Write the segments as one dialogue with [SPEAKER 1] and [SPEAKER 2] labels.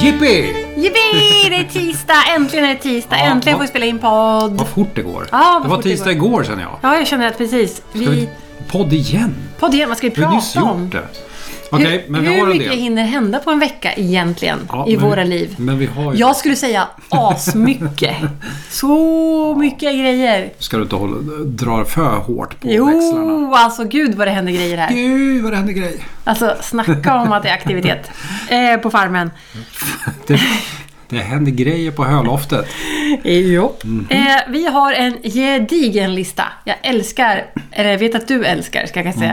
[SPEAKER 1] Jippi!
[SPEAKER 2] Yippee! Det är tisdag! Äntligen är det tisdag!
[SPEAKER 1] Ja,
[SPEAKER 2] Äntligen
[SPEAKER 1] vad-
[SPEAKER 2] får vi spela in podd!
[SPEAKER 1] Vad fort det går.
[SPEAKER 2] Ja, vad
[SPEAKER 1] det var
[SPEAKER 2] fort det
[SPEAKER 1] tisdag
[SPEAKER 2] går.
[SPEAKER 1] igår känner jag.
[SPEAKER 2] Ja, jag känner att precis.
[SPEAKER 1] Ska
[SPEAKER 2] Vi...
[SPEAKER 1] vi podd igen?
[SPEAKER 2] Podd igen, vad ska vi
[SPEAKER 1] Vi har
[SPEAKER 2] prata
[SPEAKER 1] nyss
[SPEAKER 2] om?
[SPEAKER 1] gjort det. Okej,
[SPEAKER 2] hur
[SPEAKER 1] men vi har
[SPEAKER 2] hur
[SPEAKER 1] en
[SPEAKER 2] mycket
[SPEAKER 1] del.
[SPEAKER 2] hinner hända på en vecka egentligen
[SPEAKER 1] Ja,
[SPEAKER 2] i
[SPEAKER 1] men-
[SPEAKER 2] våra liv?
[SPEAKER 1] Men vi har ju...
[SPEAKER 2] Jag skulle säga asmycket. Så mycket grejer.
[SPEAKER 1] Ska du inte hålla, dra för hårt på växlarna?
[SPEAKER 2] Jo, alltså gud vad det händer grejer här.
[SPEAKER 1] Gud, vad det händer grejer.
[SPEAKER 2] Alltså snacka om att det är aktivitet eh, på farmen.
[SPEAKER 1] Det, det händer grejer på höloftet.
[SPEAKER 2] Jo. Eh, vi har en gedigen lista. Jag älskar, eller jag vet att du älskar ska jag kanske säga,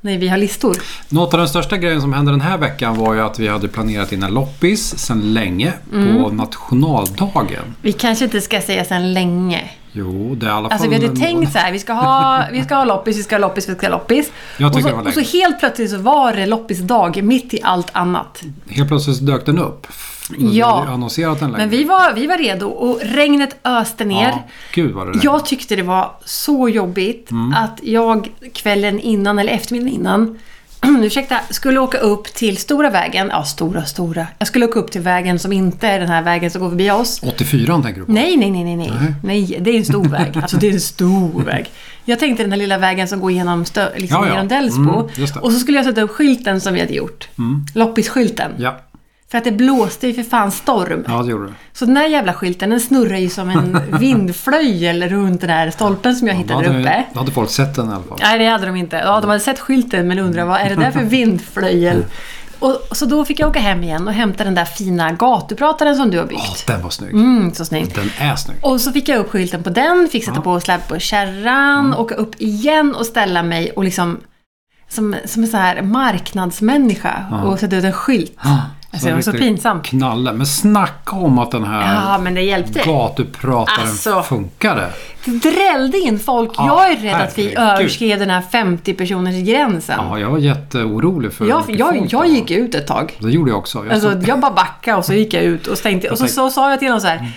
[SPEAKER 1] Mm.
[SPEAKER 2] när vi har listor.
[SPEAKER 1] Något av den största grejen som hände den här veckan var ju att vi hade planerat in en loppis sedan länge på
[SPEAKER 2] Mm.
[SPEAKER 1] nationaldagen.
[SPEAKER 2] Vi kanske inte ska säga sen länge.
[SPEAKER 1] Jo, det är i alla fall...
[SPEAKER 2] Alltså vi hade tänkt så här, vi ska ha, vi ska ha loppis, vi ska ha loppis, vi ska ha loppis.
[SPEAKER 1] Jag
[SPEAKER 2] och,
[SPEAKER 1] tycker
[SPEAKER 2] så,
[SPEAKER 1] det var
[SPEAKER 2] och så
[SPEAKER 1] länge.
[SPEAKER 2] helt plötsligt så var det loppisdag mitt i allt annat.
[SPEAKER 1] Helt plötsligt dök den upp. Vi
[SPEAKER 2] Ja.
[SPEAKER 1] hade ju annonserat den länge.
[SPEAKER 2] Men vi var, vi var redo och regnet öste ner.
[SPEAKER 1] Ja, Mm. gud vad det regnade.
[SPEAKER 2] Jag tyckte det var så jobbigt att jag kvällen innan, eller eftermiddagen innan, ursäkta, skulle åka upp till stora vägen. Ja, stora, stora. Jag skulle åka upp till vägen som inte är den här vägen som går förbi oss.
[SPEAKER 1] 84 tänker du på?
[SPEAKER 2] Nej, nej, nej, nej, nej.
[SPEAKER 1] Nej.
[SPEAKER 2] Nej, det är en stor väg. Alltså, det är en stor väg. Jag tänkte den här lilla vägen som går genom, stö, liksom,
[SPEAKER 1] Ja, ja.
[SPEAKER 2] genom Delsbo.
[SPEAKER 1] Mm, just det. Mm.
[SPEAKER 2] och så skulle jag sätta upp skylten som vi hade gjort. Loppisskylten.
[SPEAKER 1] Ja,
[SPEAKER 2] För att det blåste ju för fan storm.
[SPEAKER 1] ja det gjorde du.
[SPEAKER 2] Så den här jävla skylten den snurrar ju som en vindflöjel runt den här stolpen som jag
[SPEAKER 1] Då
[SPEAKER 2] hittade där
[SPEAKER 1] hade,
[SPEAKER 2] uppe.
[SPEAKER 1] då hade folk sett den i alla fall.
[SPEAKER 2] Nej, det hade de inte. Ja, de hade sett skylten men undrar vad är det där för vindflöjel? Och, så då fick jag åka hem igen och hämta den där fina gatuprataren som du har
[SPEAKER 1] Ja,
[SPEAKER 2] byggt.
[SPEAKER 1] den var snygg.
[SPEAKER 2] Mm, så snyggt.
[SPEAKER 1] Den är snygg.
[SPEAKER 2] Och så fick jag upp skylten på den, fick sätta på släp på kärran,
[SPEAKER 1] Mm.
[SPEAKER 2] åka upp igen och ställa mig och liksom som, som en sån här marknadsmänniska och sätta ut en skylt. Alltså, det var så
[SPEAKER 1] riktigt
[SPEAKER 2] pinsamt.
[SPEAKER 1] Knalle. Men snacka om att den här
[SPEAKER 2] Ja, men det hjälpte.
[SPEAKER 1] gatuprataren
[SPEAKER 2] Alltså.
[SPEAKER 1] funkade.
[SPEAKER 2] Det drällde in folk.
[SPEAKER 1] Ja,
[SPEAKER 2] jag är rädd att vi
[SPEAKER 1] herregud.
[SPEAKER 2] överskred den här 50-personersgränsen.
[SPEAKER 1] Ja, jag var jätteorolig för
[SPEAKER 2] jag,
[SPEAKER 1] hur mycket
[SPEAKER 2] jag,
[SPEAKER 1] folk
[SPEAKER 2] jag
[SPEAKER 1] det var.
[SPEAKER 2] gick ut ett tag.
[SPEAKER 1] Det gjorde jag också. Jag
[SPEAKER 2] Alltså,
[SPEAKER 1] stod-
[SPEAKER 2] jag bara backade och så gick jag ut och stängde. Och så, så sa jag till dem så
[SPEAKER 1] Mm.
[SPEAKER 2] här.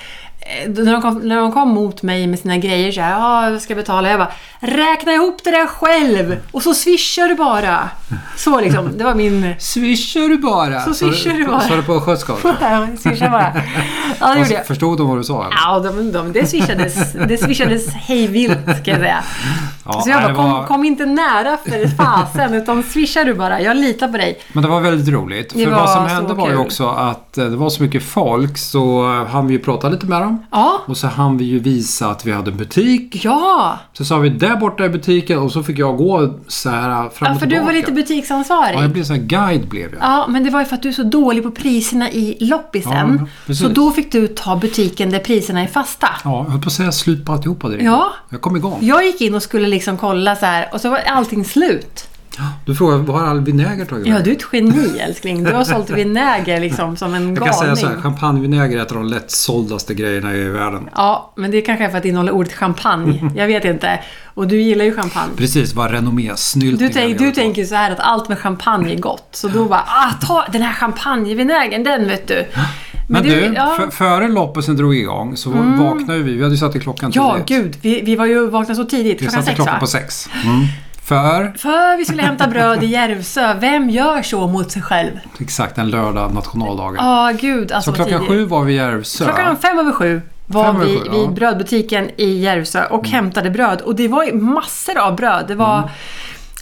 [SPEAKER 2] eh, När de, kom, när de kom mot mig med sina grejer så här, ja, jag ska betala. Jag bara, räkna ihop det där själv! Och så swishar du bara. Så liksom, det var min...
[SPEAKER 1] Swishar du bara?
[SPEAKER 2] Så swishar du bara.
[SPEAKER 1] Sa du på skötska också?
[SPEAKER 2] Swishar bara. Ja, det gjorde jag.
[SPEAKER 1] Förstod de vad du sa? eller?
[SPEAKER 2] Ja, de, de, det swishades, det swishades hejvilt, ska jag säga.
[SPEAKER 1] Ja,
[SPEAKER 2] så jag
[SPEAKER 1] nej,
[SPEAKER 2] bara,
[SPEAKER 1] det
[SPEAKER 2] kom,
[SPEAKER 1] var-
[SPEAKER 2] kom inte nära för fasen, utan swisha du bara. Jag litar på dig.
[SPEAKER 1] Men det var väldigt roligt.
[SPEAKER 2] Det
[SPEAKER 1] För
[SPEAKER 2] var
[SPEAKER 1] vad som
[SPEAKER 2] så
[SPEAKER 1] hände var ju
[SPEAKER 2] kul.
[SPEAKER 1] också att eh, det var så mycket folk så eh, hann vi ju prata lite med dem.
[SPEAKER 2] Ja,
[SPEAKER 1] Och så hann vi ju visa att vi hade en butik.
[SPEAKER 2] ja.
[SPEAKER 1] Så sa vi där borta i butiken och så fick jag gå så här fram
[SPEAKER 2] ja
[SPEAKER 1] och
[SPEAKER 2] för du
[SPEAKER 1] tillbaka.
[SPEAKER 2] var lite butiksansvarig.
[SPEAKER 1] Ja, jag blev så här guide blev jag.
[SPEAKER 2] Ja, men det var ju för att du är så dålig på priserna i
[SPEAKER 1] Ja,
[SPEAKER 2] loppisen.
[SPEAKER 1] precis.
[SPEAKER 2] så då fick du ta butiken där priserna är fasta.
[SPEAKER 1] Ja, jag höll på att säga slut på alltihopa direkt.
[SPEAKER 2] Ja.
[SPEAKER 1] Jag kom igång.
[SPEAKER 2] Jag gick in och skulle liksom kolla så här och så var allting slut.
[SPEAKER 1] Du frågade, var har all vinäger tagit
[SPEAKER 2] Ja,
[SPEAKER 1] vägen?
[SPEAKER 2] du är ett geni älskling. Du har sålt vinäger liksom som en
[SPEAKER 1] Jag kan säga så här,
[SPEAKER 2] galning.
[SPEAKER 1] champagnevinäger är ett av de lättsåldaste grejerna i världen.
[SPEAKER 2] Ja, men det kanske är för att det innehåller ordet champagne. Jag vet inte. Och du gillar ju champagne.
[SPEAKER 1] Precis, vad renommésnyltningar
[SPEAKER 2] Du, tänk,
[SPEAKER 1] vi
[SPEAKER 2] du
[SPEAKER 1] håller på.
[SPEAKER 2] tänker så här att allt med champagne är gott. Så då bara, ah, ta den här champagnevinägen, den vet du.
[SPEAKER 1] Men, du,
[SPEAKER 2] ja. Mm.
[SPEAKER 1] f- före loppisen drog igång så vaknade ju vi. Vi hade ju satt i klockan
[SPEAKER 2] Ja,
[SPEAKER 1] tidigt.
[SPEAKER 2] gud. Vi, vi var ju vakna så tidigt.
[SPEAKER 1] Vi
[SPEAKER 2] Klockan
[SPEAKER 1] satte
[SPEAKER 2] sex,
[SPEAKER 1] klockan
[SPEAKER 2] va?
[SPEAKER 1] på sex. Mm. För,
[SPEAKER 2] För vi skulle hämta bröd i Järvsö. Vem gör så mot sig själv?
[SPEAKER 1] exakt, en lördag, nationaldagen.
[SPEAKER 2] Ja, gud alltså
[SPEAKER 1] så
[SPEAKER 2] vad
[SPEAKER 1] klockan
[SPEAKER 2] tidigt.
[SPEAKER 1] sju var vi i Järvsö.
[SPEAKER 2] Klockan fem över sju var
[SPEAKER 1] Fem över
[SPEAKER 2] vi
[SPEAKER 1] sju, ja. Mm.
[SPEAKER 2] vid brödbutiken i Järvsö och hämtade bröd. Och det var ju massor av bröd. Det var...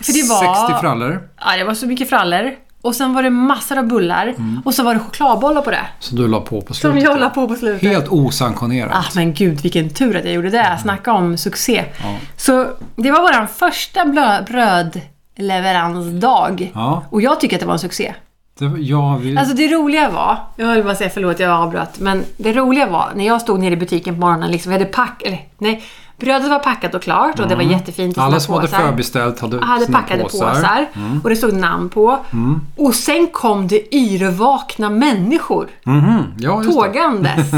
[SPEAKER 2] För det var...
[SPEAKER 1] 60 frallor
[SPEAKER 2] Ja, det var så mycket frallor. Och sen var det massor av bullar.
[SPEAKER 1] Mm.
[SPEAKER 2] Och så var det chokladbollar på det.
[SPEAKER 1] som du la på på
[SPEAKER 2] Som
[SPEAKER 1] slutet.
[SPEAKER 2] jag la på på slutet.
[SPEAKER 1] Helt osanktionerat.
[SPEAKER 2] Ah, men gud vilken tur att jag gjorde det. Snacka om succé.
[SPEAKER 1] Ja.
[SPEAKER 2] Så det var vår första blö- brödleveransdag.
[SPEAKER 1] Ja,
[SPEAKER 2] Och jag tycker att det var en succé.
[SPEAKER 1] det, var- ja vi,
[SPEAKER 2] Alltså det roliga var, jag höll bara säga förlåt jag avbröt, men det roliga var när jag stod nere i butiken på morgonen, liksom, vi hade pack, eller, nej, brödet var packat och klart och det var jättefint i
[SPEAKER 1] Mm. alla
[SPEAKER 2] sina
[SPEAKER 1] som hade
[SPEAKER 2] påsar.
[SPEAKER 1] förbeställt hade,
[SPEAKER 2] hade
[SPEAKER 1] sina Mm.
[SPEAKER 2] packade påsar, och det stod namn på. Och sen kom det yrvakna människor
[SPEAKER 1] Mhm, Ja, just det.
[SPEAKER 2] tågandes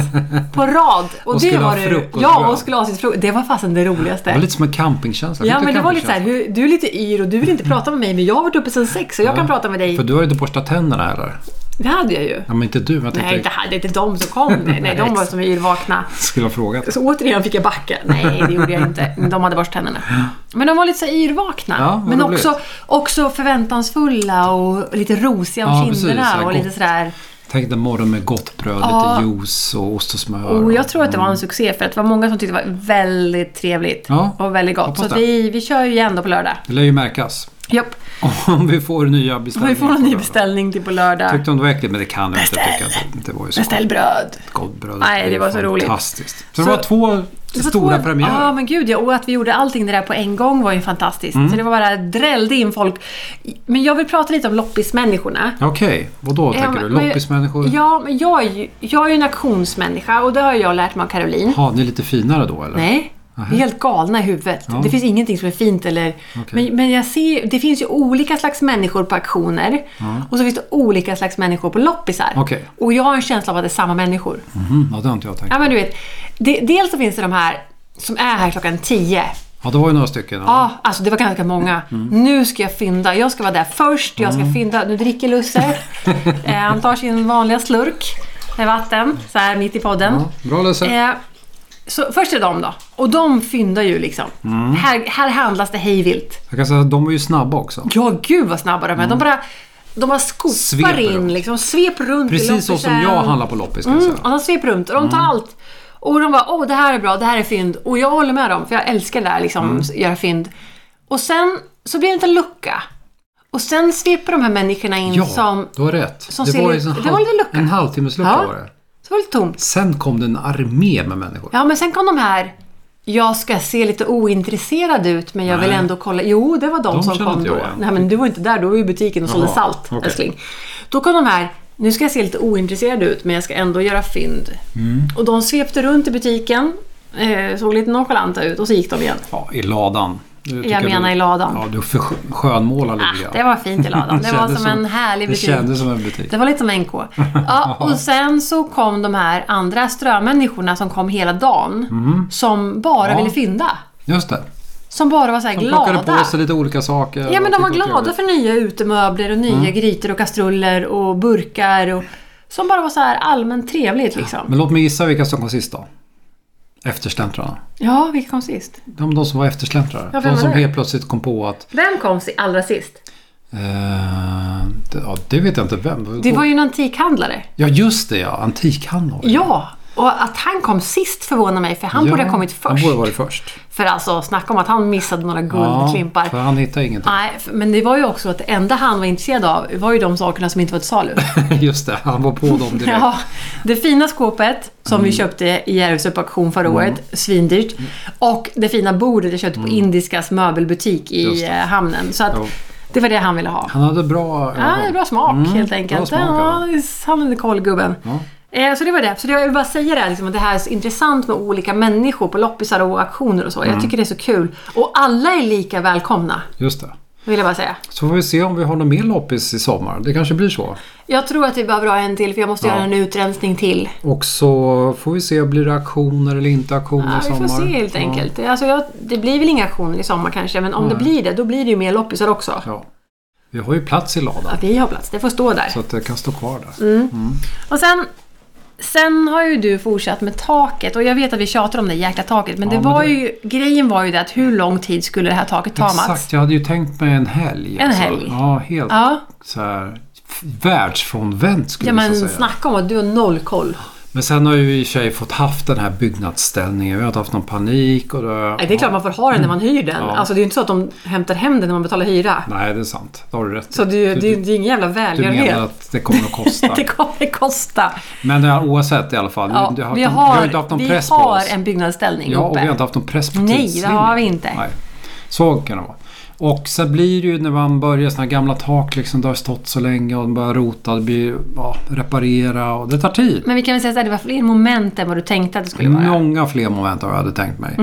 [SPEAKER 2] på rad. Och, det
[SPEAKER 1] skulle ha
[SPEAKER 2] var det,
[SPEAKER 1] frukost,
[SPEAKER 2] ja,
[SPEAKER 1] bröd.
[SPEAKER 2] och skulle ha sitt frukost. Det var fasen det
[SPEAKER 1] Det var
[SPEAKER 2] roligaste.
[SPEAKER 1] lite som en campingkänsla.
[SPEAKER 2] Ja
[SPEAKER 1] Lite
[SPEAKER 2] men det var lite
[SPEAKER 1] campingkänsla.
[SPEAKER 2] såhär, hur- du är lite yr och du vill inte prata med mig men jag har varit uppe sedan sex och jag kan prata med dig.
[SPEAKER 1] För du har ju inte borstat tänderna heller.
[SPEAKER 2] Det hade jag ju.
[SPEAKER 1] Ja, men inte du. Jag tänkte,
[SPEAKER 2] Nej, det hade inte de som kom. Nej, nej de var som yrvakna.
[SPEAKER 1] skulle ha frågat.
[SPEAKER 2] Så återigen fick jag backa. Nej, det gjorde jag inte. De hade borstat tänderna. Men de var lite så här yrvakna.
[SPEAKER 1] Ja, vad
[SPEAKER 2] men
[SPEAKER 1] roligt.
[SPEAKER 2] också, också förväntansfulla och lite rosiga om
[SPEAKER 1] Ja, precis.
[SPEAKER 2] kinderna.
[SPEAKER 1] Så här
[SPEAKER 2] och lite
[SPEAKER 1] gott.
[SPEAKER 2] sådär.
[SPEAKER 1] Tänk en morgon med gott bröd,
[SPEAKER 2] Ja.
[SPEAKER 1] lite juice och ost och smör.
[SPEAKER 2] Och jag tror att det var en succé för att det var många som tyckte det var väldigt trevligt.
[SPEAKER 1] Mm. Ja,
[SPEAKER 2] och väldigt gott.
[SPEAKER 1] hoppas
[SPEAKER 2] Så att
[SPEAKER 1] det.
[SPEAKER 2] vi, vi kör ju igen då på lördag.
[SPEAKER 1] Det lär ju märkas.
[SPEAKER 2] Japp.
[SPEAKER 1] Om vi får nya
[SPEAKER 2] Om
[SPEAKER 1] beställningar.
[SPEAKER 2] vi får en
[SPEAKER 1] på
[SPEAKER 2] ny
[SPEAKER 1] bröd.
[SPEAKER 2] beställning till på lördag.
[SPEAKER 1] Tyckte om det var äckligt, men det kan jag inte
[SPEAKER 2] Beställ
[SPEAKER 1] tycka. att Det var ju så
[SPEAKER 2] Beställ bröd.
[SPEAKER 1] gott bröd.
[SPEAKER 2] Nej, det var så roligt.
[SPEAKER 1] Fantastiskt. Så,
[SPEAKER 2] Så-
[SPEAKER 1] det var två
[SPEAKER 2] Det var
[SPEAKER 1] stora
[SPEAKER 2] två-
[SPEAKER 1] premiärer.
[SPEAKER 2] Ja, men gud ja. Och att vi gjorde allting det där på en gång var ju fantastiskt.
[SPEAKER 1] Mm.
[SPEAKER 2] Så det var bara drällde in folk. Men jag vill prata lite om loppismänniskorna.
[SPEAKER 1] Okej, vadå
[SPEAKER 2] Ja,
[SPEAKER 1] tänker du?
[SPEAKER 2] men-
[SPEAKER 1] Loppismänniskor?
[SPEAKER 2] Ja, men jag är ju, jag är ju en auktionsmänniska och det har jag lärt mig av Caroline.
[SPEAKER 1] Ha, ni är lite finare då eller?
[SPEAKER 2] Nej. Vi är helt galna i huvudet.
[SPEAKER 1] Ja.
[SPEAKER 2] Det finns ingenting som är fint eller... Men, men jag ser, det finns ju olika slags människor på auktioner. Och så finns det olika slags människor på loppisar.
[SPEAKER 1] Okej.
[SPEAKER 2] Och jag har en känsla av att det är samma människor.
[SPEAKER 1] Mhm, ja, det har inte jag tänkt.
[SPEAKER 2] Ja, men du vet. Det, dels så finns det de här som är här klockan 10.
[SPEAKER 1] Ja, det var ju några stycken.
[SPEAKER 2] Ja, alltså det var ganska många.
[SPEAKER 1] Mm.
[SPEAKER 2] Nu ska jag fynda. Jag ska vara där först. Jag ska fynda. Nu dricker Lusse. eh, han tar sin vanliga slurk med vatten, så här mitt i podden.
[SPEAKER 1] Ja, bra Lisa.
[SPEAKER 2] Eh, så först är det de då. Och de fyndar ju liksom.
[SPEAKER 1] Mm.
[SPEAKER 2] Här, här handlas det hejvilt.
[SPEAKER 1] Jag kan säga att de var ju snabba också.
[SPEAKER 2] Ja, gud vad snabba de är. De bara, de bara skopar
[SPEAKER 1] Mm. Sveper
[SPEAKER 2] in
[SPEAKER 1] runt.
[SPEAKER 2] liksom. Svep runt i
[SPEAKER 1] Precis så som
[SPEAKER 2] loppisen.
[SPEAKER 1] jag handlar på loppis kan jag
[SPEAKER 2] Mm,
[SPEAKER 1] säga.
[SPEAKER 2] och de sveper runt och de tar allt. Och de bara, åh det här är bra, det här är fynd. Och jag håller med dem, för jag älskar det där liksom, göra fynd. Och sen så blir det inte en lucka. Och sen sveper de här människorna in
[SPEAKER 1] Ja,
[SPEAKER 2] som...
[SPEAKER 1] du har rätt.
[SPEAKER 2] som
[SPEAKER 1] det
[SPEAKER 2] ser
[SPEAKER 1] var ju
[SPEAKER 2] lite-
[SPEAKER 1] en,
[SPEAKER 2] det
[SPEAKER 1] halv,
[SPEAKER 2] var lite lucka.
[SPEAKER 1] en halvtimmeslucka
[SPEAKER 2] Ja.
[SPEAKER 1] var det.
[SPEAKER 2] Så var det lite tomt.
[SPEAKER 1] Sen kom det en armé med människor.
[SPEAKER 2] Ja, men sen kom de här, jag ska se lite ointresserad ut men jag vill
[SPEAKER 1] Nej.
[SPEAKER 2] ändå kolla. Jo, det var de,
[SPEAKER 1] De
[SPEAKER 2] som
[SPEAKER 1] känner
[SPEAKER 2] kom
[SPEAKER 1] inte
[SPEAKER 2] då.
[SPEAKER 1] jag igen.
[SPEAKER 2] Nej, men du var inte där, du var ju i butiken och sålde
[SPEAKER 1] Jaha,
[SPEAKER 2] salt,
[SPEAKER 1] okej.
[SPEAKER 2] älskling. Då kom de här, nu ska jag se lite ointresserad ut men jag ska ändå göra fynd.
[SPEAKER 1] Mm.
[SPEAKER 2] Och de svepte runt i butiken, eh, såg lite nonchalanta ut och så gick de igen.
[SPEAKER 1] Ja, i ladan. Du,
[SPEAKER 2] Jag menar i ladan.
[SPEAKER 1] Ja, du för- skönmålar lite
[SPEAKER 2] Ah, det var fint i ladan. Det var
[SPEAKER 1] kändes
[SPEAKER 2] som en härlig butik.
[SPEAKER 1] Det kändes som en butik.
[SPEAKER 2] Det var lite som NK. Ja, och sen så kom de här andra strömänniskorna som kom hela dagen. Som bara
[SPEAKER 1] Mm. Ja.
[SPEAKER 2] ville fynda.
[SPEAKER 1] Just det.
[SPEAKER 2] Som bara var så här
[SPEAKER 1] De
[SPEAKER 2] glada.
[SPEAKER 1] plockade på sig typ lite olika saker.
[SPEAKER 2] Ja
[SPEAKER 1] och
[SPEAKER 2] men de var
[SPEAKER 1] tyckte det
[SPEAKER 2] glada
[SPEAKER 1] trevligt.
[SPEAKER 2] för nya utemöbler och nya
[SPEAKER 1] Mm.
[SPEAKER 2] grytor och kastruller och burkar. Och, som bara var så här allmänt trevligt liksom.
[SPEAKER 1] Men låt mig gissa vilka som kom sist då. Eftersläntrarna.
[SPEAKER 2] Ja, vilka kom sist?
[SPEAKER 1] De, de som var eftersläntrare.
[SPEAKER 2] Ja, vem
[SPEAKER 1] de
[SPEAKER 2] var
[SPEAKER 1] som
[SPEAKER 2] det?
[SPEAKER 1] helt plötsligt kom på att...
[SPEAKER 2] Vem kom si- allra sist?
[SPEAKER 1] Eh, det, ja, det vet jag inte vem.
[SPEAKER 2] Det var ju en antikhandlare.
[SPEAKER 1] Ja, just det ja. Antikhandlare.
[SPEAKER 2] Ja, och att han kom sist förvånar mig för han borde ha kommit
[SPEAKER 1] Han
[SPEAKER 2] först.
[SPEAKER 1] borde ha varit först.
[SPEAKER 2] För alltså, snacka om att han missade några guldklimpar.
[SPEAKER 1] Ja, för han hittade ingenting.
[SPEAKER 2] Nej, f- men det var ju också att det enda han var intresserad av var ju de sakerna som inte var till salu.
[SPEAKER 1] Just det, Mm. han var på dem direkt.
[SPEAKER 2] Ja, det fina skåpet som vi köpte i Järvsö på auktion
[SPEAKER 1] Mm.
[SPEAKER 2] förra året, svindyrt. Och det fina bordet jag köpte på Indiskas möbelbutik
[SPEAKER 1] Mm. Just
[SPEAKER 2] i
[SPEAKER 1] det.
[SPEAKER 2] eh, hamnen. Så att
[SPEAKER 1] Jo.
[SPEAKER 2] det var det han ville ha.
[SPEAKER 1] Han hade bra
[SPEAKER 2] Ja, det är bra smak helt enkelt.
[SPEAKER 1] Mm, smak,
[SPEAKER 2] ja,
[SPEAKER 1] ja.
[SPEAKER 2] han hade koll gubben.
[SPEAKER 1] Ja.
[SPEAKER 2] Eh, Så det var det. Så det- jag vill bara säga det, här, liksom, att det här är så intressant med olika människor på loppisar och auktioner och så.
[SPEAKER 1] Mm.
[SPEAKER 2] Jag tycker det är så kul. Och alla är lika välkomna,
[SPEAKER 1] Just det.
[SPEAKER 2] vill jag bara säga.
[SPEAKER 1] Så får vi se om vi har någon mer loppis i sommar. Det kanske blir så.
[SPEAKER 2] Jag tror att vi behöver ha en till för jag måste
[SPEAKER 1] Ja.
[SPEAKER 2] göra en utrensning till.
[SPEAKER 1] Och så får vi se, blir det auktioner eller inte auktioner
[SPEAKER 2] Ja,
[SPEAKER 1] i
[SPEAKER 2] vi
[SPEAKER 1] sommar?
[SPEAKER 2] får se helt enkelt. Alltså, jag, det blir väl inga aktioner i sommar kanske, men om det blir det, då blir det ju mer loppisar också.
[SPEAKER 1] Ja. ja. Vi har ju plats i ladan.
[SPEAKER 2] Ja, vi har plats, det får stå där.
[SPEAKER 1] Så att det kan stå kvar där.
[SPEAKER 2] Mm. Och sen, sen har ju du fortsatt med taket och jag vet att vi tjatar om det jäkla taket, men,
[SPEAKER 1] Ja,
[SPEAKER 2] det
[SPEAKER 1] men
[SPEAKER 2] var
[SPEAKER 1] det-
[SPEAKER 2] ju, grejen var ju det att hur lång tid skulle det här taket ta Mats?
[SPEAKER 1] Exakt, jag hade ju tänkt mig en helg. alltså.
[SPEAKER 2] En helg.
[SPEAKER 1] Ja, helt
[SPEAKER 2] Ja,
[SPEAKER 1] så här f- världsfrånvänt skulle
[SPEAKER 2] ja,
[SPEAKER 1] jag
[SPEAKER 2] men
[SPEAKER 1] säga.
[SPEAKER 2] snacka om att du har noll koll.
[SPEAKER 1] Men sen har ju i och för sig fått haft den här byggnadsställningen. Vi har inte haft någon panik. Och det,
[SPEAKER 2] Nej, det är klart man får ha den när man hyr den.
[SPEAKER 1] Ja.
[SPEAKER 2] Alltså det är ju inte så att de hämtar hem den när man betalar hyra.
[SPEAKER 1] Nej, det är sant. Det har du rätt
[SPEAKER 2] Så
[SPEAKER 1] i.
[SPEAKER 2] det, är ju-
[SPEAKER 1] Du-
[SPEAKER 2] det, är ju- det är ingen jävla
[SPEAKER 1] Du menar
[SPEAKER 2] välgörenhet.
[SPEAKER 1] att det kommer att kosta.
[SPEAKER 2] Det kommer kosta.
[SPEAKER 1] Men det här, oavsett i alla fall.
[SPEAKER 2] Ja,
[SPEAKER 1] du, du Mm, har,
[SPEAKER 2] vi
[SPEAKER 1] vi har inte haft
[SPEAKER 2] har,
[SPEAKER 1] någon
[SPEAKER 2] vi
[SPEAKER 1] press på
[SPEAKER 2] har
[SPEAKER 1] oss.
[SPEAKER 2] en byggnadsställning
[SPEAKER 1] Ja, och vi
[SPEAKER 2] uppe.
[SPEAKER 1] har inte haft någon press på
[SPEAKER 2] Nej, det
[SPEAKER 1] tidslinjen.
[SPEAKER 2] har vi inte.
[SPEAKER 1] Nej. Så kan det vara. Och sen blir det ju när man börjar såna här gamla tak liksom. Det har stått så länge och de börjar rota. Det blir ja, reparera och det tar tid.
[SPEAKER 2] Men vi kan väl säga att det var fler moment än vad du tänkte att det Mm. skulle vara?
[SPEAKER 1] Många fler moment har jag hade tänkt mig.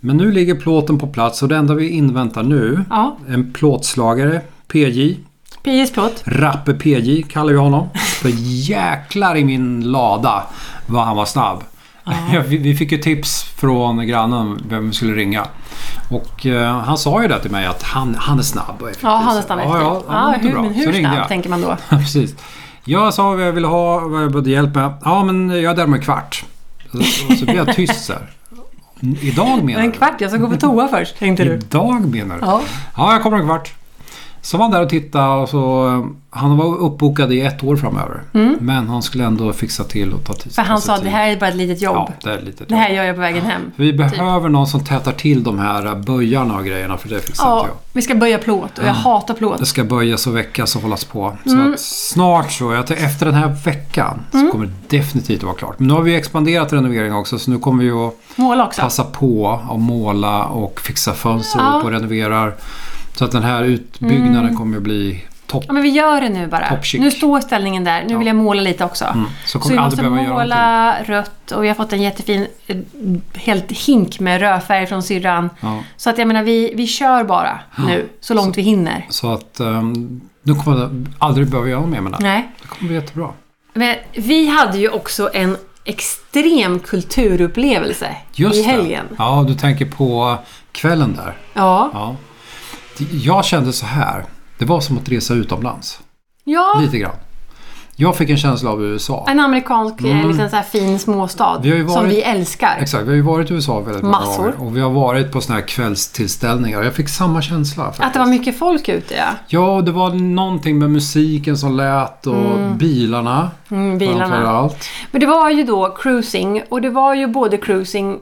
[SPEAKER 1] Men nu ligger plåten på plats och det enda vi inväntar nu.
[SPEAKER 2] Ja,
[SPEAKER 1] En plåtslagare, PJ.
[SPEAKER 2] PJs plåt.
[SPEAKER 1] Rappe PJ kallar vi honom. För jäklar i min lada vad han var snabb. Vi vi fick ju tips från grannen vem vi skulle ringa. Och eh, han sa ju det till mig att han, han är snabb och effektiv.
[SPEAKER 2] Ja, han är snabb
[SPEAKER 1] Ja, ja,
[SPEAKER 2] efter.
[SPEAKER 1] han var
[SPEAKER 2] hur,
[SPEAKER 1] bra.
[SPEAKER 2] men
[SPEAKER 1] Så
[SPEAKER 2] hur
[SPEAKER 1] ringde jag.
[SPEAKER 2] snabb tänker man då?
[SPEAKER 1] Ja, Precis. Jag sa vad jag ville ha och vad jag behövde hjälp med. Ja, men jag är där om en kvart. Så, så blev jag tyst så här. Idag menar
[SPEAKER 2] En
[SPEAKER 1] du?
[SPEAKER 2] kvart, jag ska gå på toa först, tänkte du.
[SPEAKER 1] Idag menar du?
[SPEAKER 2] Ja.
[SPEAKER 1] Ja, jag kommer om en kvart. Så var han där och tittade och så... eh, Han var uppbokad i ett år framöver. Men han skulle ändå fixa till och ta tid.
[SPEAKER 2] Mm. För han
[SPEAKER 1] ta sig
[SPEAKER 2] sa att det
[SPEAKER 1] tid.
[SPEAKER 2] här är bara ett litet jobb.
[SPEAKER 1] Ja, det är lite
[SPEAKER 2] Det här gör jag på vägen hem.
[SPEAKER 1] Vi behöver någon som tätar till de här eh, böjarna och grejerna för det fixar
[SPEAKER 2] Ja,
[SPEAKER 1] inte jag. Mm.
[SPEAKER 2] vi ska böja plåt och jag hatar plåt.
[SPEAKER 1] Det ska böjas och väckas och hållas på. Så
[SPEAKER 2] Mm.
[SPEAKER 1] att snart så, jag tror efter den här veckan så kommer det definitivt att vara klart. Men nu har vi expanderat renoveringen också så nu kommer vi att
[SPEAKER 2] Måla också.
[SPEAKER 1] passa på att måla och fixa fönster
[SPEAKER 2] Ja. Mm.
[SPEAKER 1] upp och renoverar. Så att den här utbyggnaden kommer att bli topp.
[SPEAKER 2] Ja, men vi gör det nu bara.
[SPEAKER 1] Top chic.
[SPEAKER 2] Nu står ställningen där. Nu vill jag måla lite också.
[SPEAKER 1] Så Mm.
[SPEAKER 2] Så
[SPEAKER 1] kommer
[SPEAKER 2] vi
[SPEAKER 1] vi aldrig
[SPEAKER 2] måste
[SPEAKER 1] behöva göra någonting.
[SPEAKER 2] måla rött och vi har fått en jättefin eh, helt hink med rödfärg från syrran.
[SPEAKER 1] Ja.
[SPEAKER 2] Så att jag menar, vi, vi kör bara nu så långt vi hinner.
[SPEAKER 1] Så att ehm, nu kommer jag aldrig behöva göra mer med det. här.
[SPEAKER 2] Nej.
[SPEAKER 1] Det kommer bli jättebra.
[SPEAKER 2] Men vi hade ju också en extrem kulturupplevelse
[SPEAKER 1] Just
[SPEAKER 2] i
[SPEAKER 1] det.
[SPEAKER 2] helgen.
[SPEAKER 1] Ja, du tänker på kvällen där.
[SPEAKER 2] Ja.
[SPEAKER 1] Ja. Jag kände så här. Det var som att resa utomlands.
[SPEAKER 2] ja.
[SPEAKER 1] Lite grann. Jag fick en känsla av USA.
[SPEAKER 2] En amerikansk eh, liten så här fin småstad
[SPEAKER 1] Mm. Vi har ju
[SPEAKER 2] som
[SPEAKER 1] varit-
[SPEAKER 2] vi älskar.
[SPEAKER 1] Exakt, vi har ju varit i USA väldigt många
[SPEAKER 2] Massor.
[SPEAKER 1] gånger och vi har varit på såna här kvällstillställningar. Jag fick samma känsla. Faktiskt.
[SPEAKER 2] Att det var mycket folk ute ja.
[SPEAKER 1] Ja, och det var någonting med musiken som lät och bilarna.
[SPEAKER 2] Mm, bilarna.
[SPEAKER 1] Framförallt.
[SPEAKER 2] Men det var ju då cruising och det var ju både cruising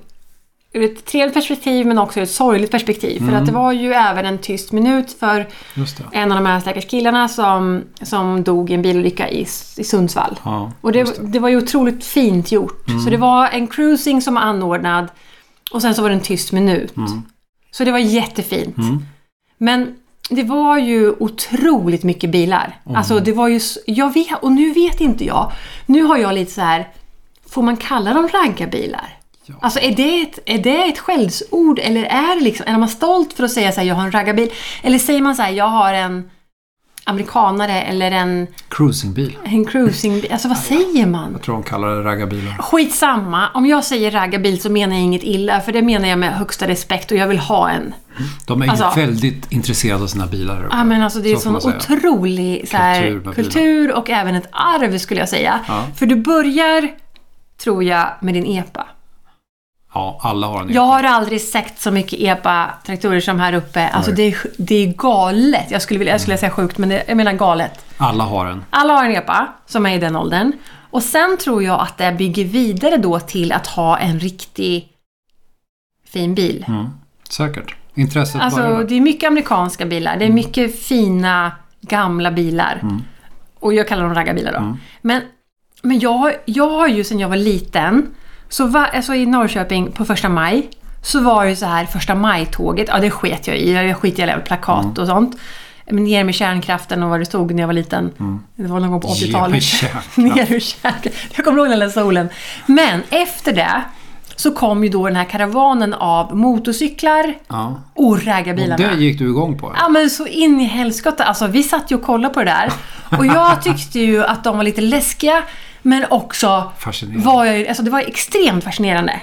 [SPEAKER 2] ur ett trevligt perspektiv men också ur ett sorgligt perspektiv. För
[SPEAKER 1] Mm.
[SPEAKER 2] att det var ju även en tyst minut för
[SPEAKER 1] Just det.
[SPEAKER 2] en av de här stackars killarna som, som dog i en bilolycka i, i Sundsvall.
[SPEAKER 1] Ja,
[SPEAKER 2] Och det,
[SPEAKER 1] just Mm.
[SPEAKER 2] det. var ju otroligt fint gjort. Så det var en cruising som var anordnad och sen så var det en tyst minut.
[SPEAKER 1] Mm.
[SPEAKER 2] Så det var jättefint. Men det var ju otroligt mycket bilar.
[SPEAKER 1] Mm.
[SPEAKER 2] Alltså det var ju... s- Jag vet, och nu vet inte jag. Nu har jag lite så här... Får man kalla dem raggarbilar?
[SPEAKER 1] Ja.
[SPEAKER 2] Alltså är det, ett, är det ett skällsord eller är det liksom... Är man stolt för att säga så här, jag har en raggarbil? Eller säger man så här, jag har en amerikanare eller en,
[SPEAKER 1] Cruisingbil.
[SPEAKER 2] en cruisingbil? Alltså vad säger man?
[SPEAKER 1] Jag tror de kallar det raggarbilar.
[SPEAKER 2] Skitsamma, om jag säger raggarbil så menar jag inget illa för det menar jag med högsta respekt och jag vill ha en.
[SPEAKER 1] De är ju
[SPEAKER 2] Alltså-
[SPEAKER 1] väldigt intresserade av sina bilar.
[SPEAKER 2] Ja men alltså det är
[SPEAKER 1] Så får
[SPEAKER 2] en
[SPEAKER 1] man
[SPEAKER 2] sån
[SPEAKER 1] säga.
[SPEAKER 2] otrolig så här,
[SPEAKER 1] Kultur med
[SPEAKER 2] kultur,
[SPEAKER 1] bilar.
[SPEAKER 2] och även ett arv skulle jag säga.
[SPEAKER 1] Ja.
[SPEAKER 2] För du börjar, tror jag, med din EPA.
[SPEAKER 1] Ja, alla har en
[SPEAKER 2] Jag har aldrig sett så mycket EPA-traktorer som här uppe. Alltså
[SPEAKER 1] Nej. Mm.
[SPEAKER 2] det är, det är galet. Jag skulle, vilja, jag skulle säga sjukt, men det, jag menar galet.
[SPEAKER 1] Alla har en.
[SPEAKER 2] Alla har en EPA som är i den åldern. Och sen tror jag att det bygger vidare då till att ha en riktig fin bil.
[SPEAKER 1] Mm. Säkert. Intresset börjar
[SPEAKER 2] Alltså
[SPEAKER 1] där.
[SPEAKER 2] det är mycket amerikanska bilar. Det är mycket fina gamla bilar. Och jag kallar dem raggarbilar då. Men, men jag, jag har ju sen jag var liten, så va, alltså i Norrköping på första maj, så var det så här första maj-tåget. Ja det sket jag i. Jag skit i alla plakat och sånt. Men ner med kärnkraften och vad det stod när jag var liten. Det var någon gång på
[SPEAKER 1] Ge mig
[SPEAKER 2] 80-talet.
[SPEAKER 1] kärnkraft.
[SPEAKER 2] ner ur kärnkraften. Jag kommer ihåg den där solen. Men efter det så kom ju då den här karavanen av motorcyklar,
[SPEAKER 1] Ja.
[SPEAKER 2] och
[SPEAKER 1] Och
[SPEAKER 2] raggarbilarna.
[SPEAKER 1] det gick du igång på.
[SPEAKER 2] Ja men så in i helskotta. Alltså vi satt ju och kollade på det där. Och jag tyckte ju att de var lite läskiga. Men också
[SPEAKER 1] Fascinerande.
[SPEAKER 2] var jag ju, alltså det var extremt fascinerande.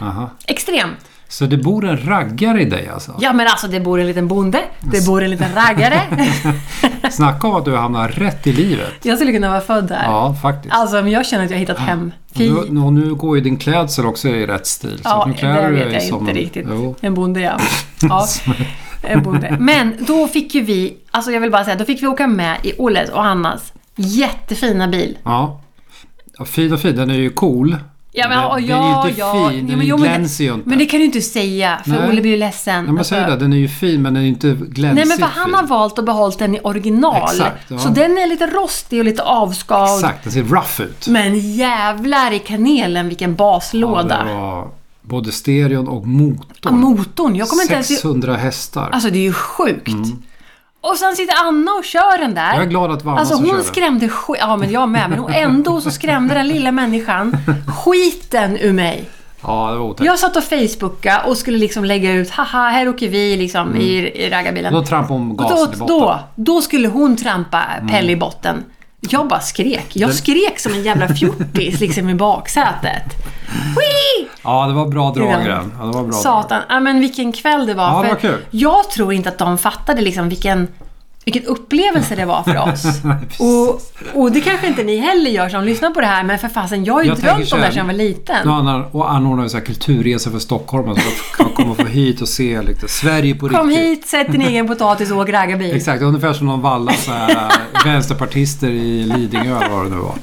[SPEAKER 2] Extremt.
[SPEAKER 1] Så det bor en raggare i dig alltså?
[SPEAKER 2] Ja men alltså det bor en liten bonde, det bor en liten raggare.
[SPEAKER 1] Snacka om att du hamnar rätt i livet.
[SPEAKER 2] jag skulle kunna vara född där.
[SPEAKER 1] Ja, faktiskt.
[SPEAKER 2] Alltså men jag känner att jag har hittat hem. Fy.
[SPEAKER 1] Och nu, och nu går ju din klädsel också i rätt stil. Så att
[SPEAKER 2] Ja,
[SPEAKER 1] nu
[SPEAKER 2] det
[SPEAKER 1] klär du
[SPEAKER 2] vet
[SPEAKER 1] dig
[SPEAKER 2] jag
[SPEAKER 1] som
[SPEAKER 2] inte
[SPEAKER 1] en-
[SPEAKER 2] riktigt.
[SPEAKER 1] Jo.
[SPEAKER 2] En bonde ja. ja. En bonde. Men då fick ju vi, alltså jag vill bara säga, då fick vi åka med i Olles och Annas jättefina bil.
[SPEAKER 1] Ja. ja. Fin och fin, den är ju cool.
[SPEAKER 2] Ja, men,
[SPEAKER 1] den,
[SPEAKER 2] ja,
[SPEAKER 1] den är
[SPEAKER 2] ja,
[SPEAKER 1] ju inte
[SPEAKER 2] ja.
[SPEAKER 1] fin,
[SPEAKER 2] Nej,
[SPEAKER 1] den
[SPEAKER 2] jo,
[SPEAKER 1] glänser ju inte.
[SPEAKER 2] Men det kan du inte säga, för
[SPEAKER 1] Nej.
[SPEAKER 2] Olle blir ju ledsen.
[SPEAKER 1] ja, men
[SPEAKER 2] Alltså,
[SPEAKER 1] säg det, den är ju fin men den är ju inte glänsigt
[SPEAKER 2] Nej, men för han har
[SPEAKER 1] fin.
[SPEAKER 2] valt att behålla den i original.
[SPEAKER 1] Exakt, ja.
[SPEAKER 2] Så den är lite rostig och lite avskavd.
[SPEAKER 1] Exakt, den ser rough ut.
[SPEAKER 2] Men jävlar i kanelen vilken
[SPEAKER 1] Ja,
[SPEAKER 2] baslåda.
[SPEAKER 1] det var både stereon och
[SPEAKER 2] Ja,
[SPEAKER 1] motorn.
[SPEAKER 2] Motorn, jag kommer inte ens...
[SPEAKER 1] 600 hästar.
[SPEAKER 2] Alltså det är ju sjukt. Och sen sitter Anna och kör den där.
[SPEAKER 1] Mm. jag är glad att det var Anna
[SPEAKER 2] Alltså
[SPEAKER 1] som
[SPEAKER 2] hon
[SPEAKER 1] körde.
[SPEAKER 2] skrämde skit... Ja men jag med. Men hon- ändå så skrämde den lilla människan skiten ur mig.
[SPEAKER 1] Ja, det var otäckt.
[SPEAKER 2] Jag satt och facebookade och skulle liksom lägga ut haha, här åker vi liksom i, i raggarbilen.
[SPEAKER 1] Mm. Då trampade hon
[SPEAKER 2] Och
[SPEAKER 1] gasen i
[SPEAKER 2] då,
[SPEAKER 1] botten. Mm.
[SPEAKER 2] då, då skulle hon trampa Pelle i botten. Jag bara skrek. Jag skrek som en jävla fjortis liksom i baksätet. Whee!
[SPEAKER 1] Ja, det var bra drag i
[SPEAKER 2] Ja.
[SPEAKER 1] den. Ja, det var bra drag.
[SPEAKER 2] Satan, ja, men vilken kväll det var.
[SPEAKER 1] Ja, det
[SPEAKER 2] För
[SPEAKER 1] var kul.
[SPEAKER 2] Jag tror inte att de fattade liksom vilken Vilken upplevelse det var för oss. och, och det kanske inte ni heller gör som lyssnar på det här, men för fasen, jag har ju
[SPEAKER 1] Jag tänker
[SPEAKER 2] drömt
[SPEAKER 1] så
[SPEAKER 2] om det här
[SPEAKER 1] här,
[SPEAKER 2] sedan jag var liten.
[SPEAKER 1] Nu anordnar- och anordnar vi så här kulturresor för Stockholm. och Så kan man komma få hit och se lite Sverige på
[SPEAKER 2] Kom
[SPEAKER 1] riktigt.
[SPEAKER 2] hit, sätt din egen potatis och åk raggarbil.
[SPEAKER 1] Exakt, ungefär som de vallar så här, vänsterpartister i Lidingö eller vad det nu var.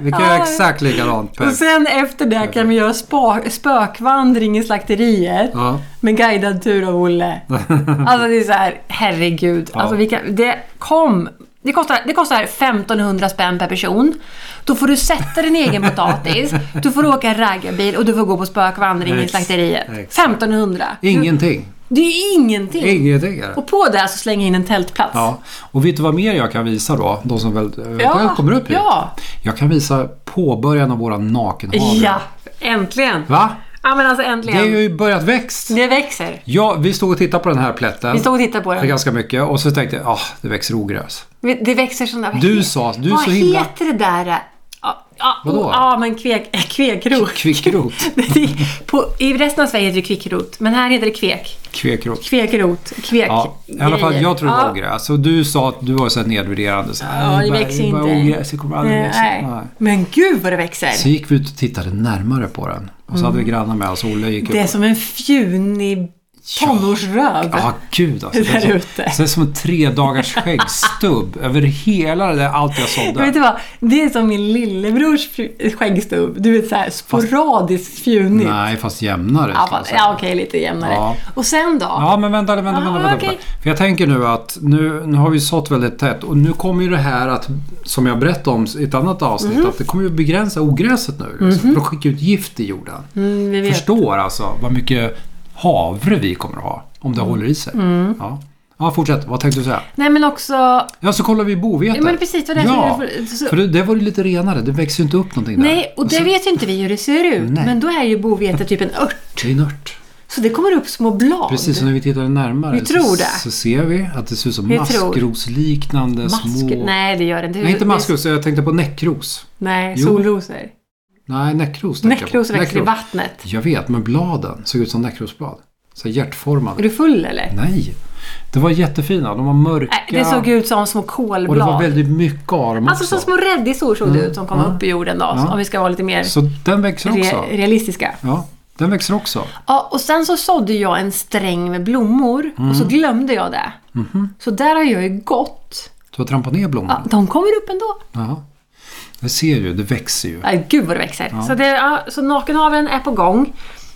[SPEAKER 1] Vi kan göra
[SPEAKER 2] Ja.
[SPEAKER 1] exakt likadant.
[SPEAKER 2] Och
[SPEAKER 1] Peg.
[SPEAKER 2] sen efter det kan vi göra spa- spökvandring i slakteriet
[SPEAKER 1] Ja.
[SPEAKER 2] med guidad tur av Olle. Alltså det är så här, herregud.
[SPEAKER 1] Ja.
[SPEAKER 2] Alltså vi kan, det kom... Det kostar, det kostar 1500 spänn per person. Då får du sätta din egen potatis, du får åka raggarbil och du får gå på spökvandring i
[SPEAKER 1] Ex-
[SPEAKER 2] slakteriet.
[SPEAKER 1] exakt.
[SPEAKER 2] 1500!
[SPEAKER 1] Ingenting.
[SPEAKER 2] Det är ju ingenting!
[SPEAKER 1] Ingenting är det.
[SPEAKER 2] Och på det så slänga in en tältplats.
[SPEAKER 1] Ja. Och vet du vad mer jag kan visa då? De som väl eh,
[SPEAKER 2] Ja,
[SPEAKER 1] kommer upp hit.
[SPEAKER 2] ja.
[SPEAKER 1] Jag kan visa påbörjan av våra nakenhavre.
[SPEAKER 2] Ja, äntligen!
[SPEAKER 1] Va?
[SPEAKER 2] Ja men alltså
[SPEAKER 1] Det
[SPEAKER 2] äntligen.
[SPEAKER 1] har
[SPEAKER 2] Det,
[SPEAKER 1] ju börjat växt.
[SPEAKER 2] växer.
[SPEAKER 1] Ja, vi stod och tittade på den här plätten.
[SPEAKER 2] Vi stod och tittade på
[SPEAKER 1] Det är
[SPEAKER 2] den.
[SPEAKER 1] ganska mycket och så tänkte jag, ah, det växer ogräs.
[SPEAKER 2] Det växer sådana... vad
[SPEAKER 1] Du
[SPEAKER 2] heter-
[SPEAKER 1] sa, du är
[SPEAKER 2] Vad
[SPEAKER 1] så himla...
[SPEAKER 2] heter det där? eh, Ja, ja,
[SPEAKER 1] Vadå?
[SPEAKER 2] oh, ja men kvek, äh, kvekrot.
[SPEAKER 1] Kvickrot.
[SPEAKER 2] Det är- på, I resten av Sverige heter det kvickrot, men här heter det kvek.
[SPEAKER 1] Kvekrot.
[SPEAKER 2] Kvekrot. Kvek.
[SPEAKER 1] Ja, i alla fall
[SPEAKER 2] grejer.
[SPEAKER 1] jag tror det var
[SPEAKER 2] Ja,
[SPEAKER 1] ogräs. Och du sa att du var så här nedvärderande. Så här,
[SPEAKER 2] Ja, det
[SPEAKER 1] bara-
[SPEAKER 2] växer
[SPEAKER 1] bara
[SPEAKER 2] inte.
[SPEAKER 1] Ogräs, det kommer aldrig växa.
[SPEAKER 2] eh, Nej.
[SPEAKER 1] Nej.
[SPEAKER 2] Men gud vad det växer!
[SPEAKER 1] Så gick vi ut och tittade närmare på den. Och så hade vi
[SPEAKER 2] Mm.
[SPEAKER 1] grannar med oss. Olle gick
[SPEAKER 2] Det är
[SPEAKER 1] upp.
[SPEAKER 2] som en fjunig tonårsröv.
[SPEAKER 1] Ja, gud alltså.
[SPEAKER 2] Där
[SPEAKER 1] Det är så-
[SPEAKER 2] ute.
[SPEAKER 1] det är som en tre dagars skäggstubb över hela det där, allt jag sådde.
[SPEAKER 2] Vet du vad? Det är som min lillebrors fj- skäggstubb. Du vet såhär sporadiskt fjunig.
[SPEAKER 1] Nej, fast jämnare.
[SPEAKER 2] Ja,
[SPEAKER 1] ska jag
[SPEAKER 2] fast-
[SPEAKER 1] säga.
[SPEAKER 2] ja okej, lite jämnare.
[SPEAKER 1] Ja.
[SPEAKER 2] Och sen då?
[SPEAKER 1] Ja, men vänta, vänta, vänta.
[SPEAKER 2] Ah,
[SPEAKER 1] vänta,
[SPEAKER 2] okej.
[SPEAKER 1] För jag tänker nu att nu, nu har vi sått väldigt tätt och nu kommer ju det här att, som jag berättade om i ett annat avsnitt,
[SPEAKER 2] Mhm.
[SPEAKER 1] att det kommer ju begränsa ogräset nu. Liksom, För att skicka ut gift i jorden.
[SPEAKER 2] Mm, vi vet.
[SPEAKER 1] Förstår alltså vad mycket havre vi kommer att ha om
[SPEAKER 2] Mm.
[SPEAKER 1] det håller i sig. Ja. ja, fortsätt. Vad tänkte du säga?
[SPEAKER 2] Nej men också...
[SPEAKER 1] Ja, så kollar vi bovete.
[SPEAKER 2] Ja, men precis, vad det är
[SPEAKER 1] ja,
[SPEAKER 2] som är- så-
[SPEAKER 1] för det, det var ju lite renare. Det växer ju inte upp någonting där.
[SPEAKER 2] Nej, och det vet ju inte vi hur det ser ut.
[SPEAKER 1] Nej.
[SPEAKER 2] Men då är ju bovete typ en ört.
[SPEAKER 1] Det är nört.
[SPEAKER 2] Så det kommer upp små blad.
[SPEAKER 1] Precis, och när vi tittar närmare
[SPEAKER 2] Vi tror
[SPEAKER 1] så,
[SPEAKER 2] det.
[SPEAKER 1] så ser vi att det ser ut som
[SPEAKER 2] Vi tror.
[SPEAKER 1] maskrosliknande små...
[SPEAKER 2] Mask... Nej, det gör det inte.
[SPEAKER 1] Nej, inte maskros. Jag tänkte på näckros.
[SPEAKER 2] Nej,
[SPEAKER 1] Jo.
[SPEAKER 2] solrosor.
[SPEAKER 1] Nej, näckros tänker jag på.
[SPEAKER 2] Näckrosor växer i vattnet.
[SPEAKER 1] Jag vet, men bladen såg ut som näckrosblad. Så här hjärtformade.
[SPEAKER 2] Är du full eller?
[SPEAKER 1] Nej, det var jättefina. De var mörka.
[SPEAKER 2] Nej, det såg ut som små kolblad.
[SPEAKER 1] Och det var väldigt mycket av dem
[SPEAKER 2] Alltså som
[SPEAKER 1] också.
[SPEAKER 2] små räddisor såg det ut som kom upp i jorden då.
[SPEAKER 1] Ja.
[SPEAKER 2] Om vi ska vara lite mer
[SPEAKER 1] Så den växer också.
[SPEAKER 2] re- realistiska.
[SPEAKER 1] Ja, den växer också.
[SPEAKER 2] Ja, och sen så sådde jag en sträng med blommor och så
[SPEAKER 1] Mm.
[SPEAKER 2] glömde jag det.
[SPEAKER 1] Mhm.
[SPEAKER 2] Så där har jag ju gått.
[SPEAKER 1] Du har trampat ner blomman.
[SPEAKER 2] Ja, de kommer upp ändå.
[SPEAKER 1] Ja. Jag ser ju, det växer ju.
[SPEAKER 2] Nej, Äh, gud vad det växer. Så, det, ja, så nakenhaven är på gång.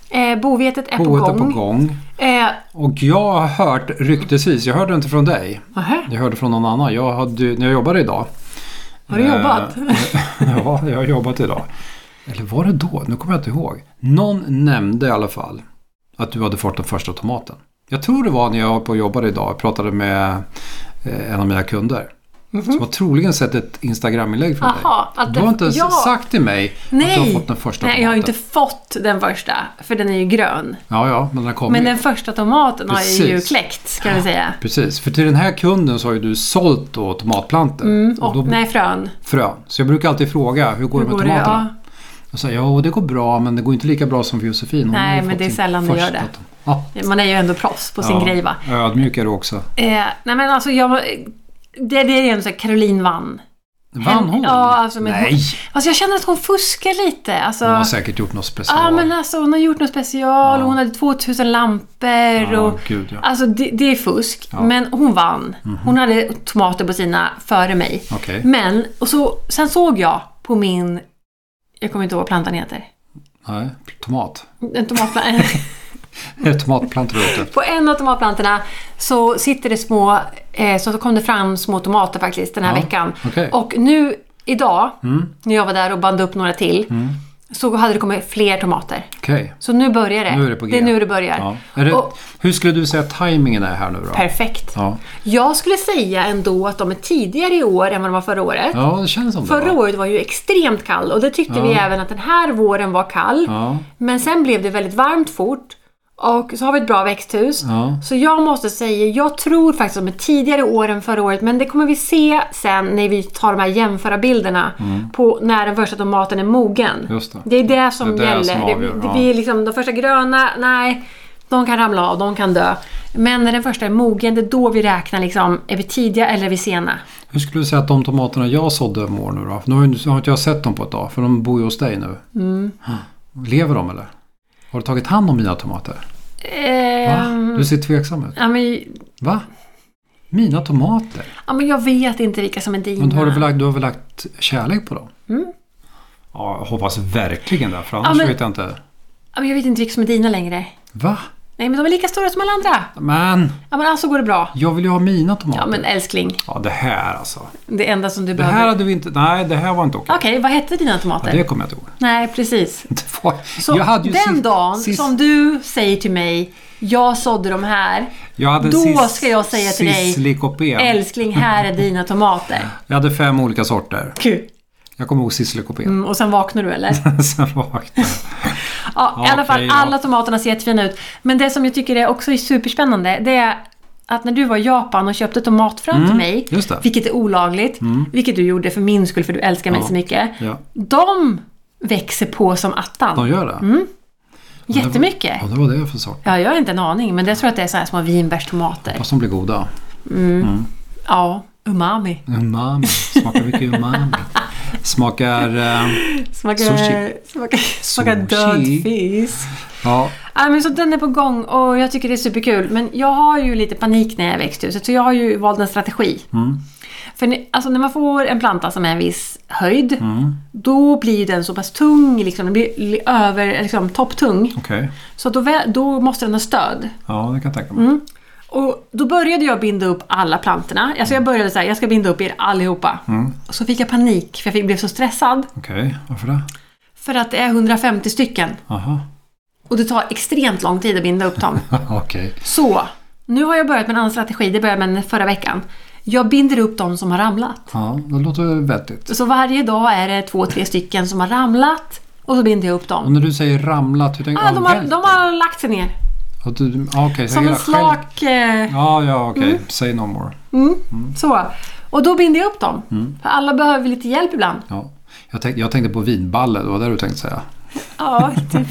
[SPEAKER 2] Eh, bovetet är
[SPEAKER 1] Boet
[SPEAKER 2] på
[SPEAKER 1] är
[SPEAKER 2] gång.
[SPEAKER 1] på gång.
[SPEAKER 2] Eh,
[SPEAKER 1] Och jag har hört ryktesvis, jag hörde inte från dig.
[SPEAKER 2] aha,
[SPEAKER 1] Jag hörde från någon annan. Jag hade, när jag jobbade idag.
[SPEAKER 2] har du
[SPEAKER 1] Eh,
[SPEAKER 2] jobbat?
[SPEAKER 1] ja, jag har jobbat idag. Eller var det då? Nu kommer jag inte ihåg. Någon nämnde i alla fall att du hade fått den första tomaten. Jag tror det var när jag var på och jobbade idag. Jag pratade med eh, en av mina kunder. Som har troligen sett ett Instagram-inlägg från
[SPEAKER 2] Jaha,
[SPEAKER 1] dig.
[SPEAKER 2] Mhm. att
[SPEAKER 1] Du har
[SPEAKER 2] det-
[SPEAKER 1] inte ens
[SPEAKER 2] ja.
[SPEAKER 1] sagt till mig att du
[SPEAKER 2] Nej.
[SPEAKER 1] har fått den första
[SPEAKER 2] Nej,
[SPEAKER 1] tomaten.
[SPEAKER 2] jag har inte fått den första. För den är ju grön.
[SPEAKER 1] Ja, ja, men den har kommit.
[SPEAKER 2] Men den första tomaten har ju
[SPEAKER 1] Mm. Precis.
[SPEAKER 2] kläckts kan vi säga.
[SPEAKER 1] Precis, för till den här kunden så har ju du sålt då tomatplantor.
[SPEAKER 2] Mm, Och,
[SPEAKER 1] då
[SPEAKER 2] nej, frön.
[SPEAKER 1] frön. Så jag brukar alltid fråga, hur går det med
[SPEAKER 2] det?
[SPEAKER 1] tomaterna? Jag säger, ja det går bra men det går inte lika bra som för Josefin. Hon
[SPEAKER 2] Nej,
[SPEAKER 1] har ju
[SPEAKER 2] men
[SPEAKER 1] fått
[SPEAKER 2] det är
[SPEAKER 1] sin
[SPEAKER 2] sällan det gör
[SPEAKER 1] första
[SPEAKER 2] det.
[SPEAKER 1] tom- Ja,
[SPEAKER 2] Ja, man är ju ändå proffs på sin
[SPEAKER 1] ja.
[SPEAKER 2] grej va.
[SPEAKER 1] Ödmjuk är du också.
[SPEAKER 2] Eh, nej men alltså jag... Det, det är en sån här, Caroline vann.
[SPEAKER 1] Vann hon?
[SPEAKER 2] Ja, alltså, men
[SPEAKER 1] Nej,
[SPEAKER 2] hon, alltså jag känner att hon fuskar lite. Alltså,
[SPEAKER 1] hon har säkert gjort något special.
[SPEAKER 2] Ja, men alltså hon har gjort något special
[SPEAKER 1] Ja.
[SPEAKER 2] och hon hade 2000 lampor
[SPEAKER 1] Ja,
[SPEAKER 2] och...
[SPEAKER 1] gud ja.
[SPEAKER 2] Alltså det, det är fusk,
[SPEAKER 1] Ja. Mhm.
[SPEAKER 2] men hon vann. Hon hade tomater på sina före mig.
[SPEAKER 1] Okej.
[SPEAKER 2] Men, och så, sen såg jag på min... Jag kommer inte ihåg vad plantan heter.
[SPEAKER 1] Nej, tomat.
[SPEAKER 2] En tomatplan-
[SPEAKER 1] Är det tomatplantor ute?
[SPEAKER 2] på en av tomatplantorna så sitter det små... Eh, så kom det fram små tomater faktiskt den här
[SPEAKER 1] Ja,
[SPEAKER 2] veckan.
[SPEAKER 1] okej. Mm.
[SPEAKER 2] Och nu idag, när jag var där och band upp några till, så hade det kommit fler tomater.
[SPEAKER 1] Okej.
[SPEAKER 2] Så nu börjar det.
[SPEAKER 1] Nu är det på G.
[SPEAKER 2] är nu det börjar.
[SPEAKER 1] Ja. Är det,
[SPEAKER 2] Och,
[SPEAKER 1] Hur skulle du säga att tajmingen är här nu då?
[SPEAKER 2] perfekt.
[SPEAKER 1] Ja.
[SPEAKER 2] Jag skulle säga ändå att de är tidigare i år än vad de var förra året.
[SPEAKER 1] ja, det känns som det.
[SPEAKER 2] Förra
[SPEAKER 1] va?
[SPEAKER 2] året var ju extremt kall och det tyckte vi även att den här våren var kall.
[SPEAKER 1] Ja.
[SPEAKER 2] Men sen blev det väldigt varmt fort och så har vi ett bra växthus.
[SPEAKER 1] Ja.
[SPEAKER 2] Så jag måste säga, jag tror faktiskt att de är tidigare år än förra året men det kommer vi se sen när vi tar de här jämföra bilderna på när den första tomaten är mogen.
[SPEAKER 1] Mm. Just det.
[SPEAKER 2] är det som
[SPEAKER 1] Det är det
[SPEAKER 2] gäller.
[SPEAKER 1] som
[SPEAKER 2] det,
[SPEAKER 1] avgör,
[SPEAKER 2] det
[SPEAKER 1] ja.
[SPEAKER 2] blir liksom de första gröna, nej. De kan ramla av, de kan dö. Men när den första är mogen, det är då vi räknar liksom, är vi tidiga eller är vi sena?
[SPEAKER 1] Hur skulle du säga att de tomaterna jag sådde mår nu då? Nu har, ju- nu har inte jag sett dem på ett tag, för de bor ju hos dig nu.
[SPEAKER 2] Mm.
[SPEAKER 1] Lever de eller? Har du tagit hand om mina tomater? Va?
[SPEAKER 2] Ehm,
[SPEAKER 1] Du ser tveksam ut.
[SPEAKER 2] ja, men,
[SPEAKER 1] Va? Mina tomater?
[SPEAKER 2] ja, men jag vet inte vilka som är dina.
[SPEAKER 1] Men har du, väl lagt, du har väl lagt kärlek på dem?
[SPEAKER 2] Mm.
[SPEAKER 1] Ja, jag hoppas verkligen det, för annars
[SPEAKER 2] men-
[SPEAKER 1] vet jag inte.
[SPEAKER 2] ja, men jag vet inte vilka som är dina längre.
[SPEAKER 1] Va?
[SPEAKER 2] Nej, men de är lika stora som alla andra.
[SPEAKER 1] Men,
[SPEAKER 2] Ja, men alltså går det bra.
[SPEAKER 1] jag vill ju ha mina tomater.
[SPEAKER 2] Ja, men älskling.
[SPEAKER 1] Ja, det här alltså.
[SPEAKER 2] Det enda som du
[SPEAKER 1] Det här
[SPEAKER 2] behöver.
[SPEAKER 1] hade vi inte... Nej, det här var inte okej.
[SPEAKER 2] Okej, vad hette dina tomater?
[SPEAKER 1] Ja, det kommer jag inte ihåg.
[SPEAKER 2] Nej, precis.
[SPEAKER 1] Det var,
[SPEAKER 2] Så
[SPEAKER 1] jag hade ju
[SPEAKER 2] den
[SPEAKER 1] sist-
[SPEAKER 2] dagen
[SPEAKER 1] sist-
[SPEAKER 2] som du säger till mig, jag sådde de här.
[SPEAKER 1] jag hade
[SPEAKER 2] då
[SPEAKER 1] sist-
[SPEAKER 2] ska jag säga till dig,
[SPEAKER 1] Sisslikopen.
[SPEAKER 2] Älskling, här är dina tomater.
[SPEAKER 1] Jag hade fem olika sorter.
[SPEAKER 2] Kul.
[SPEAKER 1] Jag kommer ihåg sisslikopen.
[SPEAKER 2] Mm, och sen vaknar du eller?
[SPEAKER 1] Sen vaknade jag.
[SPEAKER 2] Ja, i alla
[SPEAKER 1] okej,
[SPEAKER 2] fall
[SPEAKER 1] ja.
[SPEAKER 2] alla tomaterna ser jättefina ut. Men det som jag tycker är också är superspännande, det är att när du var i Japan och köpte tomatfrön till mig,
[SPEAKER 1] Mm, just det. Mm.
[SPEAKER 2] vilket är olagligt, vilket du gjorde för min skull för du älskar mig
[SPEAKER 1] Ja.
[SPEAKER 2] så mycket.
[SPEAKER 1] Ja,
[SPEAKER 2] De växer på som attan.
[SPEAKER 1] de gör det.
[SPEAKER 2] Mm.
[SPEAKER 1] det var-
[SPEAKER 2] Jättemycket.
[SPEAKER 1] Ja, det var det för sort.
[SPEAKER 2] Ja, jag har inte en aning, men jag tror att det är så här små vinbärstomater.
[SPEAKER 1] Fast de blir goda.
[SPEAKER 2] Ja, umami.
[SPEAKER 1] Umami. Smakar mycket umami. Smakar... Eh,
[SPEAKER 2] Smakar,
[SPEAKER 1] Sushi.
[SPEAKER 2] Smakar, smakar
[SPEAKER 1] Sushi.
[SPEAKER 2] död fisk.
[SPEAKER 1] ja,
[SPEAKER 2] Ja, men så den är på gång och jag tycker det är superkul. Men jag har ju lite panik när jag är i växthuset, så jag har ju valt en strategi. För ni, alltså, när man får en planta som är en viss höjd, då blir ju den så pass tung, liksom, den blir li- över, liksom, topptung.
[SPEAKER 1] okej.
[SPEAKER 2] Så att då, vä- då måste den ha stöd.
[SPEAKER 1] Ja, det kan jag tänka mig.
[SPEAKER 2] Mm. Och då började jag binda upp alla plantorna. Alltså jag började så här, jag ska binda upp er allihopa. Och så fick jag panik, för jag fick, blev så stressad.
[SPEAKER 1] Okej, varför det?
[SPEAKER 2] För att det är 150 stycken.
[SPEAKER 1] Aha.
[SPEAKER 2] Och det tar extremt lång tid att binda upp dem.
[SPEAKER 1] okej.
[SPEAKER 2] Så, nu har jag börjat med en annan strategi. Det började jag med förra veckan. Jag binder upp de som har ramlat.
[SPEAKER 1] Ja, det låter vettigt.
[SPEAKER 2] Så varje dag är det två, tre stycken som har ramlat. Och så binder jag upp
[SPEAKER 1] Och
[SPEAKER 2] dem.
[SPEAKER 1] när du säger ramlat, hur tänker
[SPEAKER 2] Ah, de, har,
[SPEAKER 1] vält.
[SPEAKER 2] de har lagt sig ner.
[SPEAKER 1] Och du? Ja, Okej, så
[SPEAKER 2] Som en
[SPEAKER 1] hela själv-
[SPEAKER 2] slak... Eh, mm,
[SPEAKER 1] Ja, ja, okej. Say no more. Mm.
[SPEAKER 2] så. Och då binder jag upp dem. För alla behöver lite hjälp ibland.
[SPEAKER 1] Ja. Jag, tänkte, jag tänkte på vinballe, det var det du tänkte säga.
[SPEAKER 2] Ja, typ.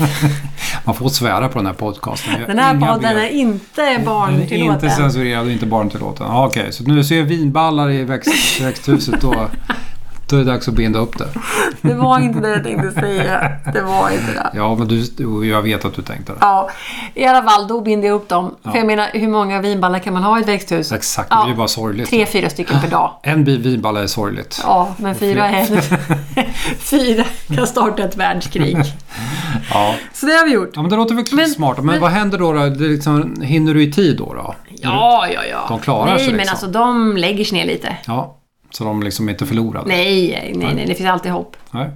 [SPEAKER 1] Man får svära på den här podcasten. Vi har
[SPEAKER 2] Den här
[SPEAKER 1] inga
[SPEAKER 2] podden
[SPEAKER 1] begrepp.
[SPEAKER 2] är inte
[SPEAKER 1] Den är inte
[SPEAKER 2] barntillåten.
[SPEAKER 1] censurerad och inte barntillåten. Ja, Okej, så nu ser jag vinballar i växt, växthuset då, då är det dags att binda upp det.
[SPEAKER 2] Det var inte det jag tänkte säga. Det var inte det.
[SPEAKER 1] Ja, men du, jo, jag vet att du tänkte det.
[SPEAKER 2] Ja, i alla fall då binder jag upp dem. För jag menar, hur många vinballar kan man ha i ett växthus?
[SPEAKER 1] Exakt, det
[SPEAKER 2] Ja,
[SPEAKER 1] är ju bara sorgligt.
[SPEAKER 2] Tre, fyra stycken per dag.
[SPEAKER 1] En bi- vinballe är sorgligt.
[SPEAKER 2] Ja, men fyra är... fyra kan starta ett världskrig.
[SPEAKER 1] Ja.
[SPEAKER 2] Så det har vi gjort.
[SPEAKER 1] ja, men det låter väl
[SPEAKER 2] Men-
[SPEAKER 1] smart. Men,
[SPEAKER 2] men-
[SPEAKER 1] vad händer då? då? Det är liksom, hinner du i tid då? då?
[SPEAKER 2] Ja, ja, ja.
[SPEAKER 1] Mm. De klarar
[SPEAKER 2] nej,
[SPEAKER 1] sig
[SPEAKER 2] Nej, men
[SPEAKER 1] liksom.
[SPEAKER 2] alltså de lägger sig ner lite.
[SPEAKER 1] Ja, så de liksom inte förlorade?
[SPEAKER 2] Nej, nej, nej, det finns alltid hopp.
[SPEAKER 1] Nej.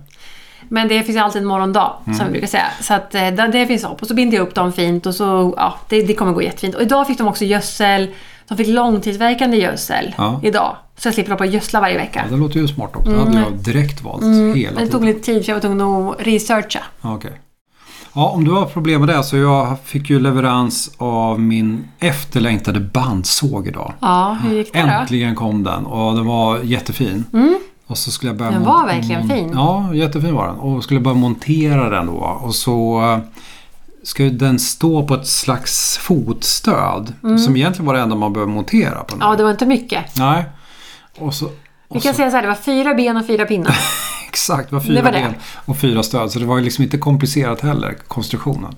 [SPEAKER 2] Men det finns alltid en morgondag,
[SPEAKER 1] Mm.
[SPEAKER 2] som vi brukar säga. Så att, eh, det, det finns hopp. Och så binder jag upp dem fint och så, ja, det, det kommer gå jättefint. Och idag fick de också gödsel. De fick långtidsverkande gödsel
[SPEAKER 1] Ja.
[SPEAKER 2] idag. Så jag slipper hoppa och gödsla varje vecka.
[SPEAKER 1] Ja, det låter ju smart också. Det hade jag direkt valt hela
[SPEAKER 2] Men Mm. det
[SPEAKER 1] tiden.
[SPEAKER 2] tog lite tid för jag var tvungen att researcha.
[SPEAKER 1] Ja, okej. Ja, om du har problem med det så jag fick ju leverans av min efterlängtade bandsåg idag.
[SPEAKER 2] Ja, hur gick det då?
[SPEAKER 1] Äntligen kom den och den var jättefin. Och så skulle jag börja
[SPEAKER 2] Mm. Den
[SPEAKER 1] mont-
[SPEAKER 2] var verkligen fin.
[SPEAKER 1] Ja, jättefin var den. Och skulle börja montera den då. Och så eh, ska ju den stå på ett slags fotstöd. Som egentligen var det enda man behöver montera på den.
[SPEAKER 2] Mm. Ja, det var inte mycket.
[SPEAKER 1] Nej. Och så...
[SPEAKER 2] Vi
[SPEAKER 1] Och så
[SPEAKER 2] kan säga så här, det var fyra ben och fyra pinnar.
[SPEAKER 1] exakt, det var fyra
[SPEAKER 2] Det var det.
[SPEAKER 1] ben och fyra stöd. Så det var ju liksom inte komplicerat heller, konstruktionen.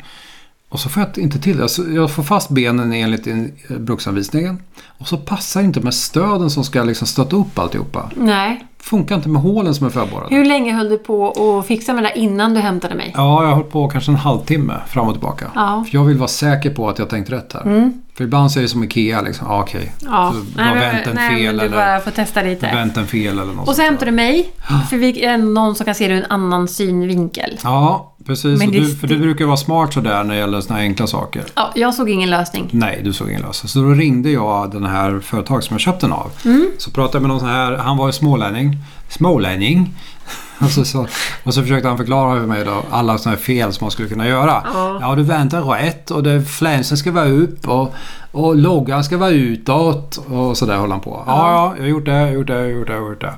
[SPEAKER 1] Och så får jag inte till det. Så Jag får fast benen enligt in- eh, bruksanvisningen. Och så passar inte med stöden som ska liksom stötta upp alltihopa.
[SPEAKER 2] Nej.
[SPEAKER 1] funkar inte med hålen som är förborrade.
[SPEAKER 2] Hur länge höll du på att fixa med det där innan du hämtade mig?
[SPEAKER 1] Ja, jag har hållit på kanske en halvtimme fram och tillbaka.
[SPEAKER 2] Ja. Mm.
[SPEAKER 1] För jag vill vara säker på att jag tänkt rätt här. För ibland så är det som Ikea, liksom, ah, okej,
[SPEAKER 2] Ja.
[SPEAKER 1] så du har
[SPEAKER 2] men-
[SPEAKER 1] vänt den
[SPEAKER 2] nej,
[SPEAKER 1] fel
[SPEAKER 2] men du
[SPEAKER 1] eller
[SPEAKER 2] bara får testa lite.
[SPEAKER 1] vänt den fel eller något
[SPEAKER 2] Och så
[SPEAKER 1] sånt där.
[SPEAKER 2] hämtade du mig, för vi är någon som kan se det ur en annan synvinkel.
[SPEAKER 1] Ja, precis.
[SPEAKER 2] Men
[SPEAKER 1] Och
[SPEAKER 2] det-
[SPEAKER 1] du, för du brukar vara smart sådär när det gäller såna här enkla saker.
[SPEAKER 2] Ja, jag såg ingen lösning.
[SPEAKER 1] Nej, du såg ingen lösning. Så då ringde jag den här företag som jag köpte den av. Så pratade jag med någon sån här, han var ju smålänning. Smålänning. Och så, Alltså, så, och så försökte han förklara för mig då alla såna här fel som man skulle kunna göra.
[SPEAKER 2] Ja.
[SPEAKER 1] du väntar rätt och det, flänsen ska vara upp och, och loggan ska vara utåt och sådär håller han på. Ja, ja, jag har gjort det, jag har gjort det, jag har gjort det, jag har gjort det.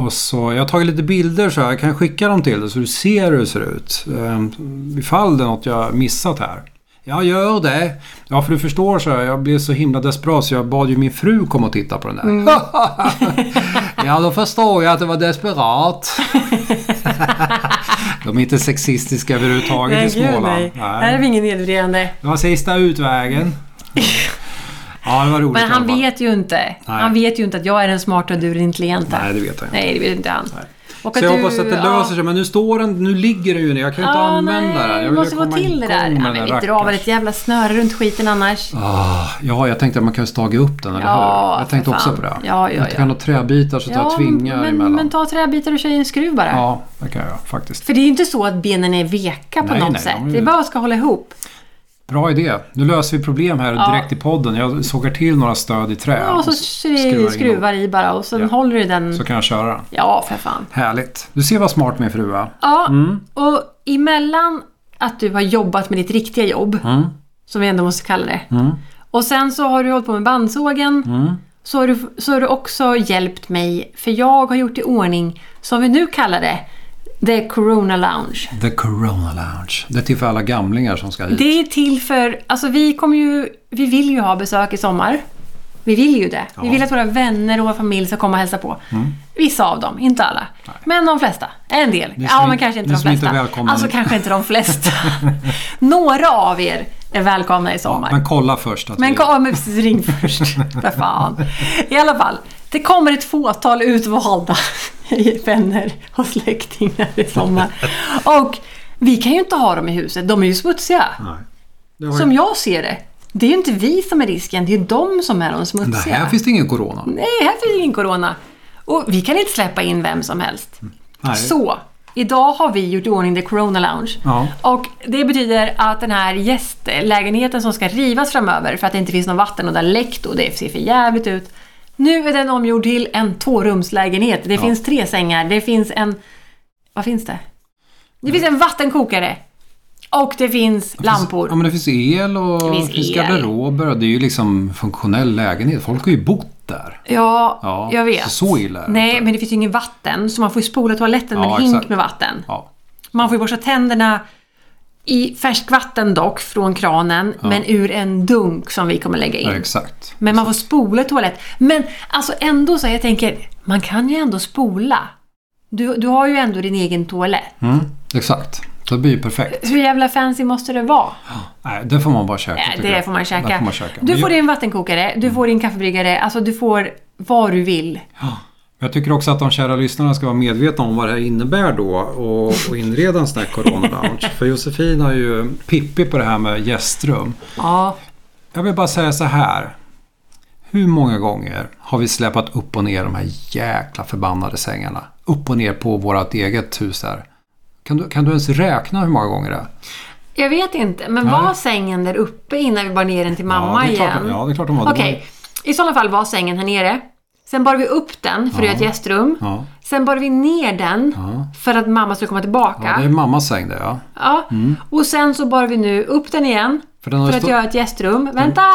[SPEAKER 1] Och så, jag har tagit lite bilder så här, jag Ehm, kan skicka dem till dig så du ser hur det ser ut. Um, ifall det är något jag har missat här. Jag gör det. Ja, för du förstår så jag. Jag blev så himla desperat så jag bad ju min fru komma och titta på den där. ja, då förstår jag att det var desperat. De är inte sexistiska överhuvudtaget i
[SPEAKER 2] gud,
[SPEAKER 1] Småland.
[SPEAKER 2] nej. Här är vi ingen nedvärderande.
[SPEAKER 1] Det var sista utvägen. Ja, det var roligt
[SPEAKER 2] Men
[SPEAKER 1] i alla
[SPEAKER 2] han
[SPEAKER 1] fall.
[SPEAKER 2] vet ju inte. Han vet ju inte att jag är den smarta och du är den intelligenta.
[SPEAKER 1] Nej, det vet jag inte.
[SPEAKER 2] Nej, det vet inte han. Och
[SPEAKER 1] Så jag
[SPEAKER 2] du-
[SPEAKER 1] hoppas att det
[SPEAKER 2] ja.
[SPEAKER 1] löser sig. Men nu står den, nu ligger den ju ner. Jag kan ju inte
[SPEAKER 2] Ja,
[SPEAKER 1] använda den. Jag
[SPEAKER 2] nej,
[SPEAKER 1] vill
[SPEAKER 2] det
[SPEAKER 1] ju
[SPEAKER 2] måste vara
[SPEAKER 1] komma
[SPEAKER 2] till det
[SPEAKER 1] igång
[SPEAKER 2] där.
[SPEAKER 1] med den
[SPEAKER 2] Ja, men vi
[SPEAKER 1] rackaren.
[SPEAKER 2] drar väl ett jävla snöre runt skiten annars.
[SPEAKER 1] Ah, ja, jag tänkte att man kan staga upp den, eller
[SPEAKER 2] Ja,
[SPEAKER 1] hur? Jag tänkte
[SPEAKER 2] för
[SPEAKER 1] också
[SPEAKER 2] fan.
[SPEAKER 1] på det.
[SPEAKER 2] Ja, ja,
[SPEAKER 1] jag kan ha träbitar så att jag tvingar
[SPEAKER 2] men,
[SPEAKER 1] emellan.
[SPEAKER 2] men ta träbitar och kör i en skruv bara.
[SPEAKER 1] ja, det kan jag faktiskt.
[SPEAKER 2] För det är ju inte så att benen är veka på
[SPEAKER 1] Nej,
[SPEAKER 2] något
[SPEAKER 1] nej,
[SPEAKER 2] sätt.
[SPEAKER 1] de är ju-
[SPEAKER 2] Det är bara ska hålla ihop.
[SPEAKER 1] Bra idé. Nu löser vi problem här direkt i podden. Jag sågar till några stöd i trä.
[SPEAKER 2] Ja, och så
[SPEAKER 1] skruvar in
[SPEAKER 2] skruvar, skruvar i bara och sen
[SPEAKER 1] Ja.
[SPEAKER 2] håller du den.
[SPEAKER 1] dem. Så kan jag köra den.
[SPEAKER 2] Ja, för fan.
[SPEAKER 1] Härligt. Du ser vad smart min fru är.
[SPEAKER 2] Ja,
[SPEAKER 1] Mm.
[SPEAKER 2] och emellan att du har jobbat med ditt riktiga jobb,
[SPEAKER 1] Mm.
[SPEAKER 2] som vi ändå måste kalla det, och sen så har du hållit på med bandsågen,
[SPEAKER 1] Mm.
[SPEAKER 2] så, har du, så har du också hjälpt mig, för jag har gjort i ordning, som vi nu kallar det, The Corona Lounge.
[SPEAKER 1] The Corona Lounge. Det är till för alla gamlingar som ska hit.
[SPEAKER 2] Det är till för, alltså vi kommer ju, vi vill ju ha besök i sommar. Vi vill ju det. Vi vill att våra vänner och vår familj ska komma och hälsa på.
[SPEAKER 1] Mm.
[SPEAKER 2] Vissa av dem, inte alla. Men de flesta. En del.
[SPEAKER 1] Ni som
[SPEAKER 2] ja,
[SPEAKER 1] in-
[SPEAKER 2] men kanske inte
[SPEAKER 1] ni
[SPEAKER 2] de
[SPEAKER 1] som inte
[SPEAKER 2] flesta.
[SPEAKER 1] är välkomna.
[SPEAKER 2] alltså kanske inte de flesta. Några av er är välkomna i sommar.
[SPEAKER 1] Men kolla först att
[SPEAKER 2] Men
[SPEAKER 1] vi...
[SPEAKER 2] kom, men precis, ring först. För fan. I alla fall, det kommer ett fåtal utvalda vänner och släktingar i sommar. Och vi kan ju inte ha dem i huset, de är ju smutsiga.
[SPEAKER 1] Nej. Det var
[SPEAKER 2] Som jag ser det, det är ju inte vi som är risken, det är ju de som är de
[SPEAKER 1] ju...
[SPEAKER 2] smutsiga.
[SPEAKER 1] Här finns det ingen corona.
[SPEAKER 2] Nej, här finns ingen corona. Och vi kan inte släppa in vem som helst.
[SPEAKER 1] Mm. Nej.
[SPEAKER 2] Så, idag har vi gjort i ordning The Corona Lounge.
[SPEAKER 1] Ja.
[SPEAKER 2] Och det betyder att den här gästlägenheten som ska rivas framöver för att det inte finns något vatten och det har läckt och det ser för jävligt ut. Nu är den omgjord till en tvårumslägenhet. Det finns tre sängar, det finns en... Vad finns det? Det finns en vattenkokare. Och det finns lampor.
[SPEAKER 1] Ja, men det finns el och det finns,
[SPEAKER 2] finns el.
[SPEAKER 1] garderober. och Det är ju liksom funktionell lägenhet. Folk har ju bott där.
[SPEAKER 2] Ja,
[SPEAKER 1] Ja,
[SPEAKER 2] jag vet.
[SPEAKER 1] så- så illa är det
[SPEAKER 2] Nej,
[SPEAKER 1] inte.
[SPEAKER 2] men det finns ju ingen vatten, så man får ju spola toaletten med
[SPEAKER 1] Ja,
[SPEAKER 2] en hink
[SPEAKER 1] exakt.
[SPEAKER 2] med vatten.
[SPEAKER 1] Ja.
[SPEAKER 2] Man får ju borsta tänderna i färskvatten dock, från kranen, men ur en dunk som vi kommer lägga in.
[SPEAKER 1] Ja, exakt.
[SPEAKER 2] Men man får spola toalett. Men alltså ändå så, jag tänker, man kan ju ändå spola. Du, du har ju ändå din egen toalett.
[SPEAKER 1] Mm, exakt. Det blir ju perfekt.
[SPEAKER 2] Hur jävla fancy måste det vara?
[SPEAKER 1] Nej, det får man bara käka.
[SPEAKER 2] Nej,
[SPEAKER 1] tycker
[SPEAKER 2] det
[SPEAKER 1] jag.
[SPEAKER 2] får man
[SPEAKER 1] Det
[SPEAKER 2] käka.
[SPEAKER 1] får man käka. Mm.
[SPEAKER 2] Du
[SPEAKER 1] Men
[SPEAKER 2] får
[SPEAKER 1] jag,
[SPEAKER 2] din vattenkokare, du får din kaffebryggare, alltså du får vad du vill.
[SPEAKER 1] jag tycker också att de kära lyssnarna ska vara medvetna om vad det här innebär då och, och inreda en sån här corona-lounge. För Josefin har ju pippi på det här med gästrum.
[SPEAKER 2] Ja,
[SPEAKER 1] Jag vill bara säga så här. Hur många gånger har vi släpat upp och ner de här jäkla förbannade sängarna? Upp och ner på vårt eget hus där. Kan du, kan du ens räkna hur många gånger det är?
[SPEAKER 2] Jag vet inte, men var sängen där uppe innan vi bar ner den till mamma
[SPEAKER 1] ja, det är klart,
[SPEAKER 2] igen?
[SPEAKER 1] Ja, det är klart de var. Det
[SPEAKER 2] Okej, i sådana fall var sängen här nere. Sen bar vi upp den för att göra ett gästrum.
[SPEAKER 1] var- Ja.
[SPEAKER 2] Sen bar vi ner den för att mamma skulle komma tillbaka.
[SPEAKER 1] ja,
[SPEAKER 2] Ja,
[SPEAKER 1] det Mm. är mammas säng det ja.
[SPEAKER 2] Och sen så bar vi nu upp den igen
[SPEAKER 1] För den har
[SPEAKER 2] för
[SPEAKER 1] ju
[SPEAKER 2] att
[SPEAKER 1] stå-
[SPEAKER 2] göra ett gästrum. Vänta!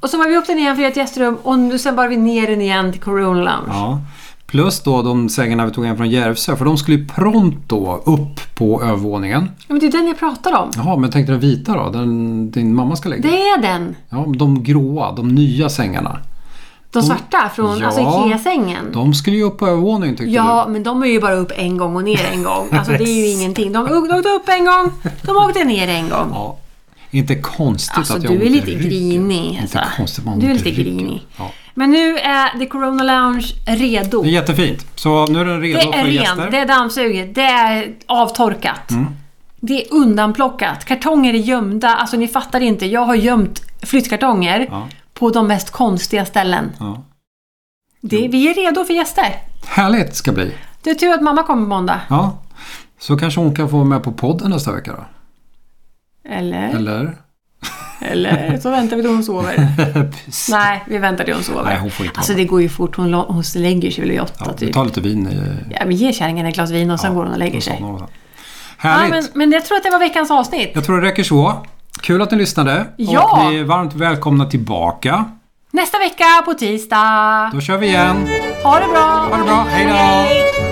[SPEAKER 2] Och så bar vi upp den igen för att göra ett gästrum och nu- sen bar vi ner den igen till Corona Lounge.
[SPEAKER 1] Ja. Plus då de sängarna vi tog hem från Järvsö, för de skulle ju prompt då upp på övervåningen.
[SPEAKER 2] Ja, men det är den jag pratar om.
[SPEAKER 1] Jaha, men tänkte den vita då? Den din mamma ska lägga?
[SPEAKER 2] Det är den.
[SPEAKER 1] Ja, men de gråa, de nya sängarna.
[SPEAKER 2] De svarta från
[SPEAKER 1] Mm. Ja.
[SPEAKER 2] alltså IKEA-sängen.
[SPEAKER 1] De skulle ju upp på övervåningen tyckte
[SPEAKER 2] Ja, men de är ju bara upp en gång och ner en gång. Alltså det är ju ingenting. De åkte åkte upp en gång, de åkte ner en
[SPEAKER 1] du?
[SPEAKER 2] gång.
[SPEAKER 1] Ja. Inte konstigt
[SPEAKER 2] Alltså
[SPEAKER 1] att jag har
[SPEAKER 2] du är
[SPEAKER 1] ont i
[SPEAKER 2] lite
[SPEAKER 1] ryggen.
[SPEAKER 2] grinig. Alltså.
[SPEAKER 1] Inte konstigt man har
[SPEAKER 2] Du är
[SPEAKER 1] ont i
[SPEAKER 2] lite
[SPEAKER 1] ryggen.
[SPEAKER 2] grinig.
[SPEAKER 1] Ja.
[SPEAKER 2] Men nu är The Corona Lounge redo.
[SPEAKER 1] Det är jättefint. Så nu är den
[SPEAKER 2] Det
[SPEAKER 1] redo
[SPEAKER 2] är
[SPEAKER 1] för
[SPEAKER 2] rent,
[SPEAKER 1] gäster. Mm.
[SPEAKER 2] det är dammsuget, det är avtorkat. Det är undanplockat. Kartonger är gömda. Alltså ni fattar inte. Jag har gömt flyttkartonger
[SPEAKER 1] Ja.
[SPEAKER 2] på de mest konstiga ställen.
[SPEAKER 1] Ja.
[SPEAKER 2] Det, vi är redo för gäster.
[SPEAKER 1] Härligt det ska bli.
[SPEAKER 2] Det är tur att mamma kommer på måndag.
[SPEAKER 1] Ja. Så kanske hon kan få vara med på podden nästa vecka då?
[SPEAKER 2] Eller?
[SPEAKER 1] Eller?
[SPEAKER 2] Eller så väntar vi då hon sover.
[SPEAKER 1] Precis.
[SPEAKER 2] Nej, vi väntar tills hon sover.
[SPEAKER 1] Nej, hon får inte
[SPEAKER 2] alltså
[SPEAKER 1] vara
[SPEAKER 2] det går ju fort. Hon, la- hon lägger sig väl i åtta
[SPEAKER 1] Ja, vi
[SPEAKER 2] typ.
[SPEAKER 1] tar lite vin i...
[SPEAKER 2] Ja, men ge kärringen ett glas vin och sen går hon och lägger
[SPEAKER 1] och
[SPEAKER 2] sig.
[SPEAKER 1] somnar och så.
[SPEAKER 2] Ja,
[SPEAKER 1] Härligt!
[SPEAKER 2] men, men jag tror att det var veckans avsnitt.
[SPEAKER 1] Jag tror det räcker så. Kul att ni lyssnade.
[SPEAKER 2] Ja!
[SPEAKER 1] Och ni är varmt välkomna tillbaka.
[SPEAKER 2] Nästa vecka på tisdag.
[SPEAKER 1] Då kör vi igen.
[SPEAKER 2] Ha det bra!
[SPEAKER 1] Ha det bra. Hej då!
[SPEAKER 2] Hej!